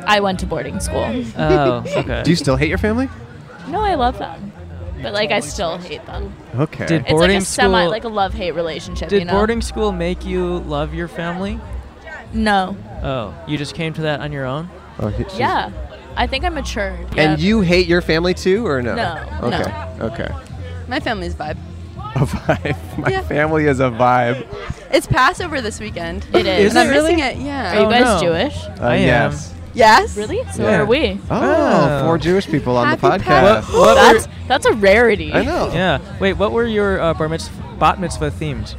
S18: I went to boarding school.
S2: <laughs>
S3: Oh, okay.
S2: Do you still hate your family?
S18: No, I love them. But like I still hate them.
S2: Okay.
S3: Did
S18: it's like
S3: boarding
S18: a semi
S3: school-
S18: like a love hate relationship,
S3: Did
S18: you know.
S3: boarding school make you love your family?
S18: no.
S3: Oh, you just came to that on your own?
S2: Oh, he- she's-
S18: Yeah. I think I matured.
S2: And you hate your family too, or no?
S18: No,
S19: no.
S2: Okay. Okay.
S19: My family's vibe.
S2: A vibe. My
S19: Yeah.
S2: family is a vibe.
S19: It's Passover this weekend.
S18: It is.
S19: And I'm
S18: Is it
S19: missing
S18: really?
S19: it. Yeah.
S18: Are you Oh, guys no. Jewish?
S2: Uh, yes.
S19: Yes.
S18: Really? So
S2: Yeah.
S18: are we.
S2: Oh, four Jewish people on the podcast.
S3: What- what
S18: that's that's a rarity.
S2: I know.
S3: Yeah. Wait, what were your uh, bar mitzvah, bat mitzvah themes?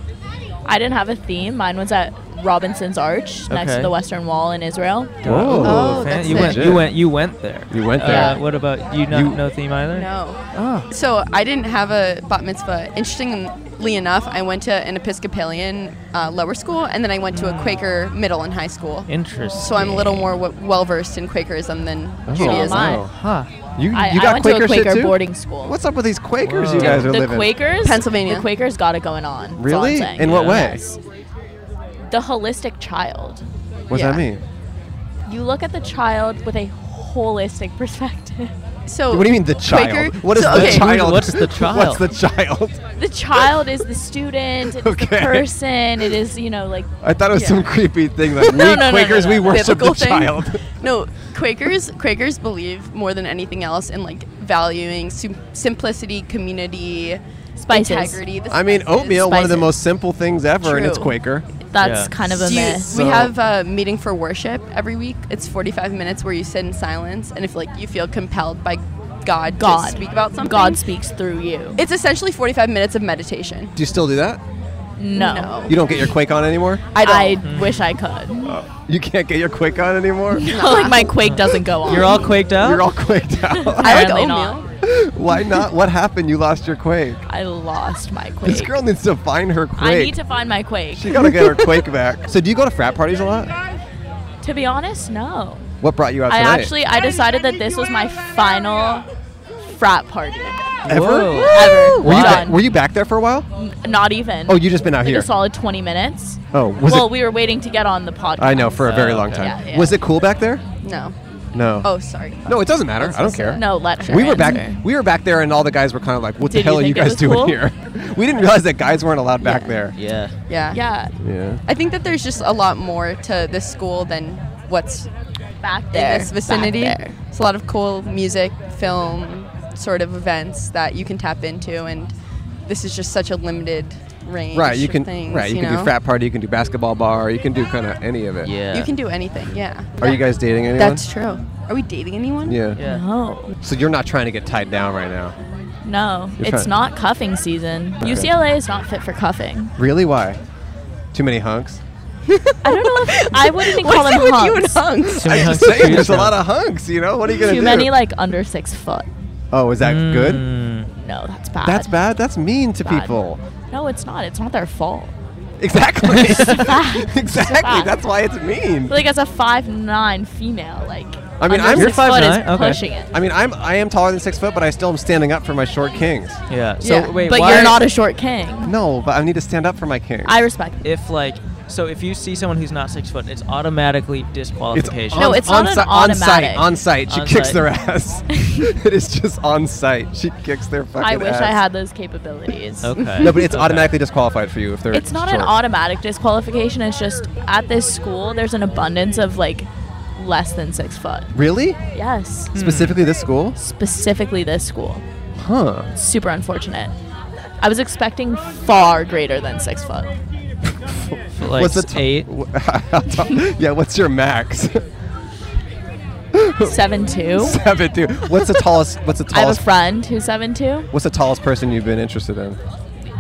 S18: I didn't have a theme. Mine was at Robinson's Arch next
S3: Okay.
S18: to the Western Wall in Israel.
S3: Whoa.
S19: Oh,
S3: fan-
S19: that's
S3: you
S19: it.
S3: went. You
S19: Legit.
S3: went. You went there.
S2: You went
S3: Uh,
S19: there.
S3: what about you? Not
S19: You-
S3: no theme either.
S19: No.
S2: Ah.
S3: Oh.
S19: So I didn't have a bat mitzvah. Interestingly enough, I went to an Episcopalian uh, lower school, and then I went to a Quaker middle and high school.
S3: Interesting.
S19: So I'm a little more w- well versed in Quakerism than
S2: Oh,
S19: Judaism.
S2: wow.
S3: Huh.
S2: You, you
S18: I- I
S2: got
S18: went to a
S2: Quaker, shit
S18: Quaker
S2: too?
S18: boarding school.
S2: What's up with these Quakers you
S18: Dude,
S2: guys are
S18: the
S2: living?
S18: Quakers,
S19: Pennsylvania.
S18: The Quakers got it going on. that's all I'm
S2: Really?
S18: saying.
S2: In what way?
S18: Yes. The holistic child.
S2: What's that mean?
S18: You look at the child with a holistic perspective.
S19: So
S2: What do you mean the child? What is the child? <laughs> What's the child?
S18: The child is the student. It's the
S2: Okay.
S18: person. It is you know
S19: <laughs>
S18: like.
S2: I thought it was
S18: Yeah.
S2: some creepy thing
S18: <laughs>
S2: that we
S19: No, no, no, no,
S2: Quakers
S19: no.
S2: we worship
S19: Biblical
S2: the
S19: thing.
S2: child.
S19: <laughs>
S2: <laughs>
S19: No, Quakers Quakers believe more than anything else in like valuing sim- simplicity, community,
S18: Spices.
S19: integrity. the
S2: I mean,
S19: spices.
S2: oatmeal, one of the most simple things ever, and it's
S19: True.
S2: Quaker.
S18: That's kind of a
S19: Do you-
S18: myth.
S19: We
S2: So-
S19: have a meeting for worship every week. It's 45 minutes where you sit in silence, and if like you feel compelled by God,
S18: God.
S19: to speak about something,
S18: God speaks through you.
S19: It's essentially 45 minutes of meditation.
S2: Do you still do that?
S18: No.
S2: You don't get your Quake on anymore?
S18: I, wish I could.
S2: You can't get your Quake on anymore?
S18: like my quake doesn't go on.
S3: You're
S18: <laughs>
S3: all quaked out.
S2: <laughs> You're all quaked out.
S18: I like Apparently oatmeal.
S2: Why not? What happened? You lost your Quake.
S18: I lost my quake.
S2: This girl needs to find her Quake.
S18: I need to find my quake.
S2: she gotta get her Quake back. So do you go to frat parties a lot?
S18: <laughs> To be honest, no.
S2: What brought you out
S18: I
S2: tonight?
S18: actually I decided that this was my final frat party.
S2: Ever?
S18: Whoa.
S2: Ever. Were you,
S18: Done.
S2: ba- were you back there for a while?
S18: N- Not even.
S2: Oh, you just been out
S18: like
S2: here.
S18: A solid 20 minutes.
S2: Oh, was
S18: well,
S2: it-
S18: we were waiting to get on the podcast.
S2: I know, for a very long time.
S18: Yeah, yeah.
S2: Was it cool back there?
S19: No.
S2: No.
S19: Oh, sorry.
S2: No, it doesn't matter.
S19: That's
S2: I don't
S19: so
S2: care.
S19: sad. No, let her
S2: We were
S19: answer.
S2: back. We were back there, and all the guys were kind of like, "What the
S19: Did you
S2: hell are you
S19: think it
S2: guys
S19: was
S2: doing
S19: cool?
S2: here?" <laughs> we didn't realize that guys weren't allowed back there.
S3: Yeah.
S19: Yeah. Yeah.
S2: Yeah.
S19: I think that there's just a lot more to this school than what's
S18: back
S19: in
S18: there,
S19: this vicinity.
S18: back there.
S19: It's a lot of cool music, film, sort of events that you can tap into, and this is just such a limited range.
S2: Right. You can.
S19: Of things,
S2: right. You, can
S19: know?
S2: do frat party. You can do basketball bar. You can do kind of any of it. Yeah.
S19: You can do anything. Yeah.
S2: Are you guys dating anyone?
S19: That's true. Are we dating anyone?
S2: Yeah.
S18: No.
S2: So you're not trying to get tied down right now.
S18: No,
S2: You're
S18: it's
S2: fine.
S18: not cuffing season.
S2: Okay.
S18: UCLA is not fit for cuffing.
S2: Really? Why? Too many hunks. <laughs>
S18: I wouldn't even
S19: What's
S18: call them
S19: it with
S18: hunks.
S19: you and hunks?
S2: I'm just saying, there's a lot of hunks. You know, what are you gonna
S18: Too
S2: do?
S18: many like under six foot.
S2: Oh, is that good?
S18: Mm, No, that's bad.
S2: That's bad. That's mean to
S18: Bad.
S2: people.
S18: No, it's not. It's not their fault.
S2: Exactly.
S18: <laughs>
S2: <laughs> exactly.
S18: bad.
S2: That's why it's mean.
S18: But, like as a five nine female, like
S2: I mean,
S18: under
S2: I'm
S18: six foot is pushing it.
S2: I mean, I'm I am taller than six foot, but I still am standing up for my short kings.
S3: Yeah.
S18: So, Yeah, wait, but why- you're not a short king.
S2: No, but I need to stand up for my king.
S18: I respect.
S3: If like, so if you see someone who's not six foot, it's automatically disqualification.
S2: on- on si- on site. On site, she
S3: On
S2: kicks
S3: site. <laughs>
S2: their ass. <laughs> it is just on site. She kicks their fucking.
S18: I wish
S2: ass.
S18: I had those capabilities.
S2: <laughs> No, but it's automatically disqualified for you if they're.
S18: It's not an
S2: short.
S18: automatic disqualification. It's just at this school, there's an abundance of like less than six foot.
S2: Really?
S18: Yes.
S2: Specifically, this school.
S18: Specifically, this school.
S2: Huh.
S18: Super unfortunate. I was expecting far greater than six
S2: <gasps>
S18: foot.
S3: Like
S2: what's the t-
S3: eight?
S2: <laughs> yeah. What's your
S18: <laughs>
S2: max?
S18: Seven two.
S2: Seven two. What's the tallest? What's the
S18: <laughs> I have
S2: tallest?
S18: a friend who's seven two.
S2: What's the tallest person you've been interested in?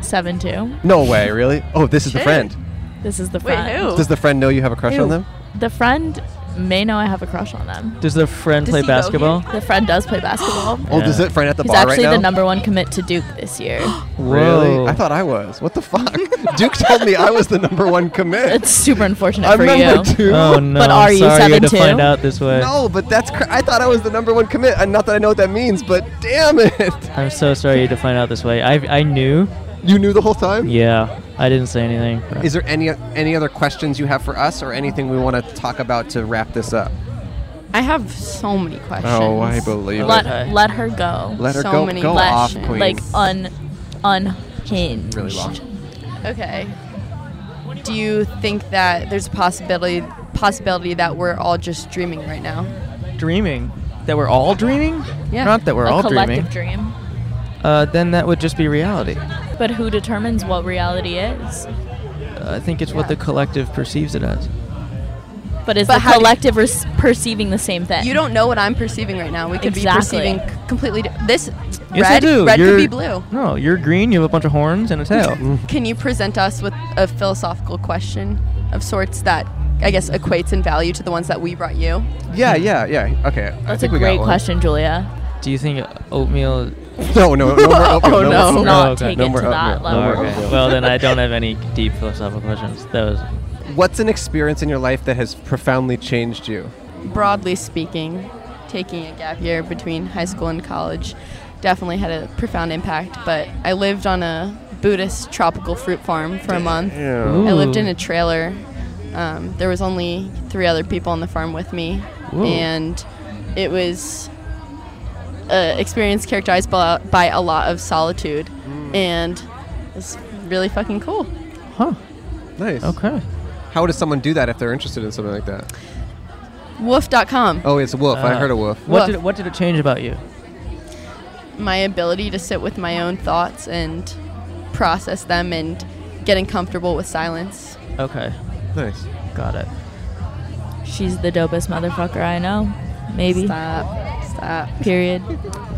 S18: Seven two.
S2: No way, really? Oh, this is the
S18: Shit.
S2: friend.
S18: This is the friend.
S2: Does the friend know you have a crush
S18: Who?
S2: on them?
S18: The friend may know I have a crush on them.
S3: Does the friend play
S18: he go here?
S3: basketball?
S18: The friend does play basketball.
S2: <gasps> Oh, does that friend at the
S18: He's
S2: bar right
S18: actually
S2: now?
S18: the number one commit to Duke this year.
S2: Really? I thought I was. What the
S18: <laughs>
S2: fuck? Duke told me I was the number one commit.
S18: It's super unfortunate
S2: I'm
S18: for
S2: number
S18: you.
S2: two.
S3: Oh no!
S18: <laughs> But are
S3: I'm
S18: you
S3: sorry you had
S18: seven
S3: to
S18: two?
S3: find out this way.
S2: No, but that's cr- I thought I was the number one commit, and not that I know what that means, but damn it!
S3: I'm so sorry you had to find out this way. I I knew.
S2: You knew the whole time.
S3: Yeah, I didn't say anything. but-
S2: Is there any any other questions you have for us, or anything we want to talk about to wrap this up?
S19: I have so many questions.
S2: <gasps> Oh, I believe
S18: Let,
S2: it.
S18: let her go.
S2: Let her So go- many go off, questions. queen.
S18: Like un, unhinged.
S2: Really long.
S19: Okay. Do you think that there's a possibility possibility that we're all just dreaming right now?
S3: dreaming that we're all dreaming.
S19: Yeah.
S3: Not that we're
S18: a
S3: all dreaming.
S18: collective dream.
S3: Uh, then that would just be reality. Uh,
S18: But who determines what reality is?
S3: I think it's what the collective perceives it as.
S18: But is
S19: But
S18: the
S19: how do you-
S18: collective res- perceiving the same thing?
S19: You don't know what I'm perceiving right now. We could
S18: Eh. Exactly.
S19: be perceiving c- completely di- this
S3: Yes, I
S19: red
S3: do.
S19: red
S3: you're,
S19: could be blue.
S3: No, you're green. You have a bunch of horns and a <laughs> tail.
S19: Can you present us with a philosophical question of sorts that I guess equates in value to the ones that we brought you?
S2: Yeah, yeah, yeah. Okay. I
S18: That's a
S2: think we
S18: great
S2: got one.
S18: question, Julia.
S3: Do you think oatmeal?
S2: No, no, no more oatmeal.
S18: <laughs> Oh, no.
S2: more
S18: Not
S2: oatmeal.
S18: take
S2: No
S18: it
S2: more
S18: to
S2: oatmeal.
S18: that
S2: No
S18: level.
S2: more
S18: Okay.
S2: oatmeal.
S3: well, then I
S2: <laughs>
S3: don't have any deep philosophical questions. That was
S2: What's an experience in your life that has profoundly changed you?
S19: Broadly speaking, taking a gap year between high school and college definitely had a profound impact, but I lived on a Buddhist tropical fruit farm for a month.
S2: Damn.
S19: I lived in
S2: Ooh.
S19: a trailer. Um, there was only three other people on the farm with me,
S2: Whoa.
S19: and it was uh, experience characterized by, by a lot of solitude,
S2: Mm.
S19: and it was really fucking cool.
S2: Nice.
S3: Okay.
S2: How does someone do that if they're interested in something like that?
S19: Woof.com.
S2: Oh, it's Wolf. I
S3: Uh,
S2: heard a Wolf.
S3: What
S19: Woof.
S3: did what did it change about you?
S19: My ability to sit with my own thoughts and process them and getting comfortable with silence.
S3: Okay.
S2: Nice.
S3: Got it.
S18: She's the dopest motherfucker I know. Maybe.
S19: Stop. Stop.
S18: Period.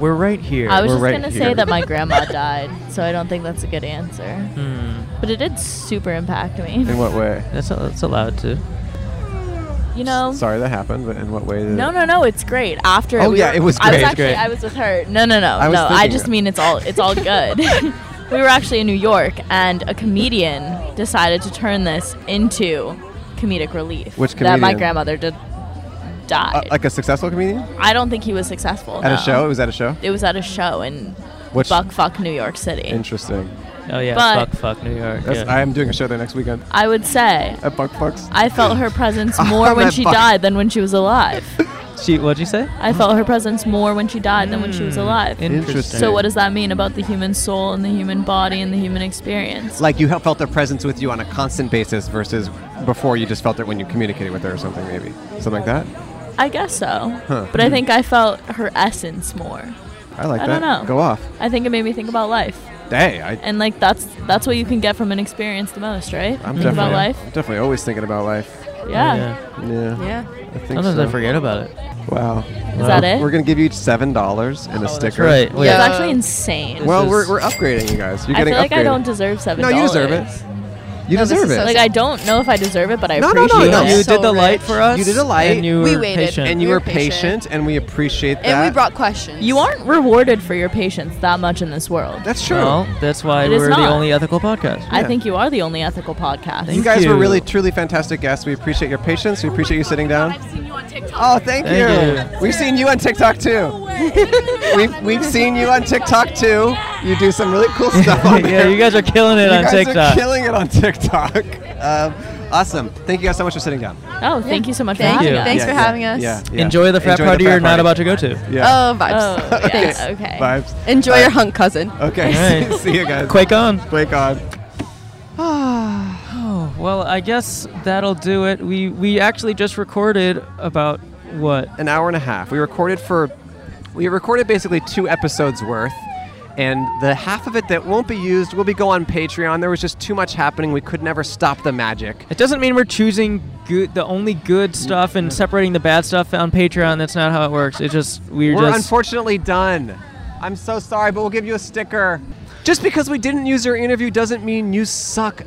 S3: We're right here.
S18: I was
S3: We're
S18: just
S3: right
S18: gonna
S3: here.
S18: say
S19: <laughs>
S18: that my grandma died, so I don't think that's a good answer.
S3: Hmm.
S18: But it did super impact me.
S2: In what way?
S3: That's that's allowed to.
S18: You know.
S2: Sorry that happened, but in what way? Did
S18: Um,
S2: Uh,
S18: No, no, no. It's great. After.
S2: Oh,
S18: we
S2: yeah,
S18: were-
S2: it was
S18: I was
S2: great.
S18: actually
S2: Great.
S18: I was with her. No, no, no,
S2: I was
S18: no. I
S2: thinking
S18: just
S2: that.
S18: mean it's all it's
S2: <laughs>
S18: all good. <laughs> we were actually in New York, and a comedian decided to turn this into comedic relief.
S2: Which
S18: That my
S2: comedian?
S18: grandmother did die.
S2: Uh, like a successful comedian?
S18: I don't think he was successful.
S2: At a
S18: no.
S2: show? It was at a show?
S18: It was at a show in
S2: Which-
S18: Buckfuck, New York City.
S2: Interesting.
S3: Oh yeah,
S18: But-
S3: fuck fuck New York.
S2: That's-
S3: yeah.
S2: I am doing a show there next weekend
S18: I would say
S2: at Buck Oh, Bucks.
S18: I felt her
S2: <laughs>
S18: presence more when
S2: That
S18: she
S2: fuck-
S18: died than when she was alive.
S3: She what'd you say?
S18: I felt her presence more when she died than when she was alive.
S2: Hmm. interesting.
S18: So what does that mean about the human soul and the human body and the human experience?
S2: Like you felt their presence with you on a constant basis versus before you just felt it when you communicated with her or something, maybe. Something like that?
S18: I guess so.
S2: Huh.
S18: But I think I felt her essence more.
S2: I like
S18: I
S2: that.
S18: don't know.
S2: Go off.
S18: I think it made me think about life.
S2: Hey, I,
S18: And like that's that's what you can get from an experience the most, right?
S2: I'm
S18: think
S2: definitely,
S18: about life.
S2: I'm definitely always thinking about life.
S18: Yeah.
S2: Yeah.
S18: Yeah.
S2: I think
S3: Sometimes I
S2: so.
S3: forget about it.
S2: Wow.
S18: Is that it? Oh,
S2: We're going to give you each $7 and a sticker.
S3: right. Wait.
S18: That's actually insane.
S2: Well, we're, we're upgrading you guys. You're
S18: I
S2: getting
S18: feel like I
S2: upgraded.
S18: don't deserve seven.
S2: No, you deserve it. You deserve it.
S18: Like I don't know if I deserve it, but I
S2: No, no, no,
S18: appreciate
S2: no.
S18: it.
S2: You
S3: did the light for us.
S2: You did a light.
S3: And you
S18: We
S3: were
S18: waited.
S3: patient.
S2: and you
S18: We
S2: were
S18: were
S2: patient,
S18: patient.
S2: and we appreciate that.
S19: brought questions.
S18: You aren't rewarded for your patience that much in this world.
S2: That's
S3: Well, that's why
S18: It is
S3: we're the
S18: not.
S3: only ethical podcast.
S18: I think you are the only ethical podcast.
S2: you guys were really truly fantastic guests. We appreciate your patience. We appreciate you sitting down. Oh, <laughs> thank,
S3: Thank
S2: you. We've seen you on TikTok too. <laughs> we've, we've seen you on TikTok too. You do some
S3: <laughs>
S2: really cool stuff on
S3: yeah,
S2: there.
S3: you guys are killing it
S2: You
S3: on
S2: guys are
S3: TikTok.
S2: killing it on TikTok. Um, awesome. Thank you guys so much for sitting down.
S18: Oh, thank you so much
S19: Thank
S18: for
S19: you.
S18: having us.
S19: Thanks for having us.
S2: Yeah, yeah.
S3: Enjoy the frat
S2: Enjoy the
S3: party
S2: frat
S3: you're not
S2: party.
S3: about to go to.
S2: Yeah.
S19: Oh, vibes. <laughs>
S18: Oh,
S2: Okay.
S18: yes, okay.
S2: Vibes.
S19: Enjoy
S2: Bye.
S19: your hunk, cousin.
S18: Oh.
S2: Okay. <laughs>
S3: All right.
S2: See you guys.
S3: Quake on.
S2: Quake on. Ah.
S3: oh, well, I guess that'll do it. We we actually just recorded about what?
S2: An hour and a half. We recorded for we recorded basically two episodes worth. And the half of it that won't be used will be go on Patreon. There was just too much happening. We could never stop the magic.
S3: It doesn't mean we're choosing good, the only
S13: Mm.
S3: good stuff and separating the bad stuff on Patreon. That's not how it works. It just we're,
S2: We're
S13: <laughs>
S3: just
S2: unfortunately done. I'm so sorry, but we'll give you a sticker. Just because we didn't use your interview doesn't mean you suck.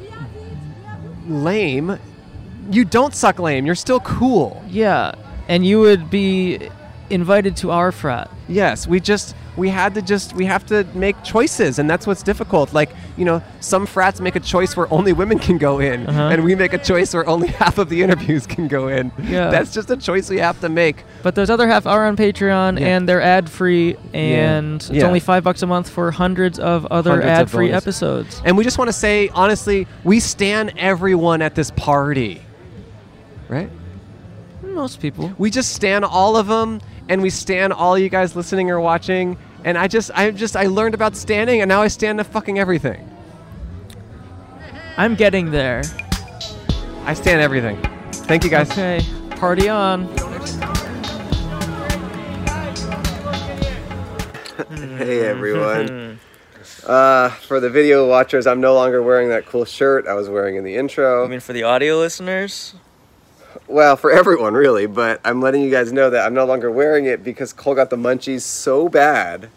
S2: Lame.
S13: you don't suck lame. You're still cool.
S6: Yeah, and you would be invited to our frat.
S13: Yes, we just we had to just we have to make choices, and that's what's difficult. Like you know, some frats make a choice where only women can go in,
S6: Uh-huh.
S13: and we make a choice where only <laughs> half of the interviews can go in.
S6: Yeah.
S13: that's just a
S3: <laughs>
S13: choice we have to make.
S6: But those other half are on Patreon,
S13: Yeah.
S6: and they're ad free, and it's
S13: Yeah.
S6: only five bucks a month for hundreds of other
S13: Hundreds of
S6: ad free
S13: bonus.
S6: episodes.
S13: And we just want to say honestly, we stand everyone at this party, right?
S6: Most people.
S13: We just stand all of them, and we stand all you guys listening or watching. And I just, I just, I learned about standing, and now I stand to fucking everything.
S6: I'm getting there.
S13: I stand everything. Thank you guys.
S6: Okay, party on.
S2: Hey everyone. Uh, for the video watchers, I'm no longer wearing that cool shirt I was wearing in the intro.
S3: I mean, for the audio listeners,
S2: Well, for everyone really, but I'm letting you guys know that I'm no longer wearing it because Cole got the munchies so bad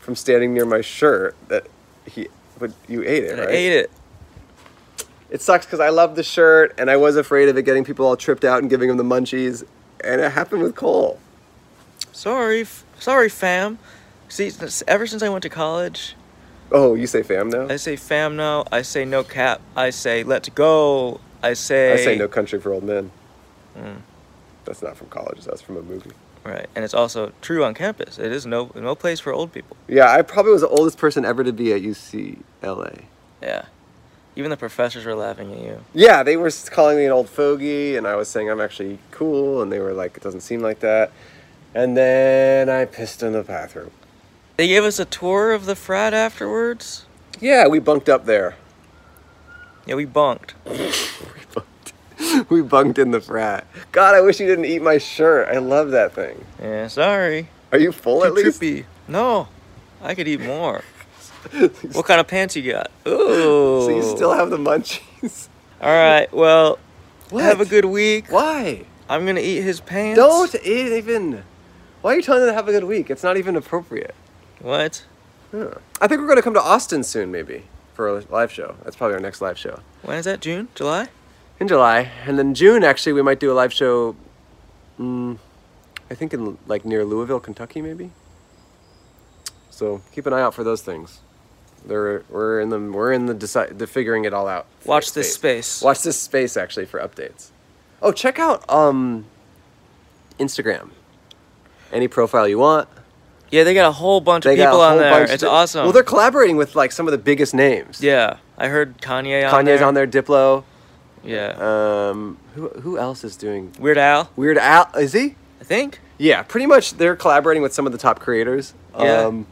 S2: from standing near my shirt that he but you ate it,
S3: I
S2: right?
S3: ate it.
S2: It sucks because I love the shirt and I was afraid of it getting people all tripped out and giving them the munchies, and it happened with Cole.
S3: Sorry, f- sorry, fam. See, s- ever since I went to college,
S2: Oh, you say fam now?
S3: I say fam now. I say no cap. I say let's go. I say
S2: I say no country for old men.
S3: Mm,
S2: That's not from college. That's from a movie.
S3: right, and it's also true on campus. It is no no place for old people.
S2: Yeah, I probably was the oldest person ever to be at UCLA.
S3: Yeah, even the professors were laughing at you.
S2: Yeah, they were calling me an old fogey, and I was saying I'm actually cool, and they were like, it doesn't seem like that. And then I pissed in the bathroom.
S3: They gave us a tour of the frat afterwards.
S2: Yeah, we bunked up there. <laughs>
S3: Yeah, we bunked.
S2: we bunked in the frat. God, I wish you didn't eat my shirt. I love that thing.
S3: Yeah, sorry.
S2: Are you full at
S3: Too
S2: least?
S3: trippy. No, I could eat
S2: <laughs>
S3: more. what kind of pants you got? Ooh.
S2: So you still have the munchies?
S3: <laughs> All right. Well,
S2: What?
S3: have a good week.
S2: Why?
S3: I'm gonna eat his pants.
S2: Don't eat even. Why are you telling them to have a good week? It's not even appropriate.
S3: What?
S2: Yeah. I think we're going to come to Austin soon, maybe, for a live show. That's probably our next live show.
S3: When is that? June? July?
S2: In July. And then June, actually, we might do a live show, mm, I think in like near Louisville, Kentucky, maybe. So keep an eye out for those things. They're, we're in the we're in the deci- the figuring it all out.
S3: Watch this space.
S2: Watch this space actually for updates. Oh, check out um Instagram. Any profile you want.
S3: Yeah, they got a whole bunch of
S2: They got a
S3: people on
S2: whole
S3: there.
S2: bunch
S3: It's
S2: of-
S3: awesome.
S2: Well, they're collaborating with like some of the biggest names.
S3: yeah. I heard Kanye on
S2: Kanye's
S3: there.
S2: on there, Diplo.
S3: Yeah.
S2: Um, who who else is doing
S3: Weird Al.
S2: Weird Al? Is he?
S3: I think.
S2: Yeah, pretty much they're collaborating with some of the top creators.
S3: Yeah.
S2: Um,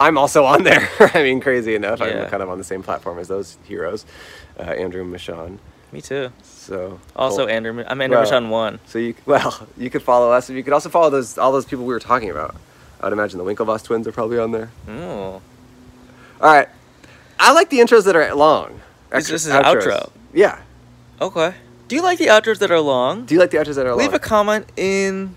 S2: I'm also on there. <laughs> I mean, crazy enough,
S3: Yeah.
S2: I'm kind of on the same platform as those heroes, uh, Andrew Michon.
S3: Me too.
S2: So
S3: Also
S2: cool.
S3: Andrew. Mi- I'm Andrew
S2: Well,
S3: Michon one.
S2: So you well, <laughs> you could follow us, and you could also follow those all those people we were talking about. I'd imagine the Winklevoss twins are probably on there.
S3: Oh.
S2: All right, I like the intros that are long.
S3: This- this is
S2: Outros.
S3: outro.
S2: Yeah.
S3: Okay. Do you like the outros that are long?
S2: Do you like the outros that are
S3: Leave
S2: long?
S3: a comment in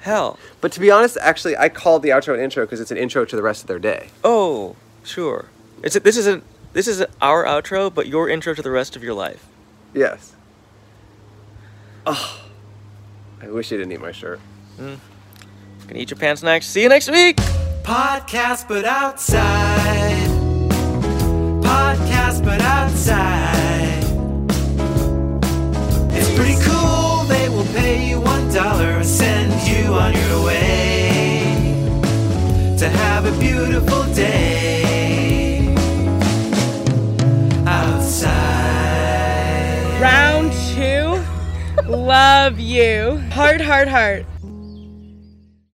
S3: hell.
S2: But to be honest, actually, I called the outro an intro because it's an intro to the rest of their day.
S3: Oh, sure. It's this isn't this is our outro, but your intro to the rest of your life.
S2: Yes. Oh, I wish you didn't eat my shirt.
S3: Mm. Gonna eat your pants next. See you next week.
S4: Podcast but outside. Podcast but outside. It's pretty cool. They will pay you one dollar and send you on your way to have a beautiful day outside.
S7: <laughs> Round two. Love you. Heart, heart, heart.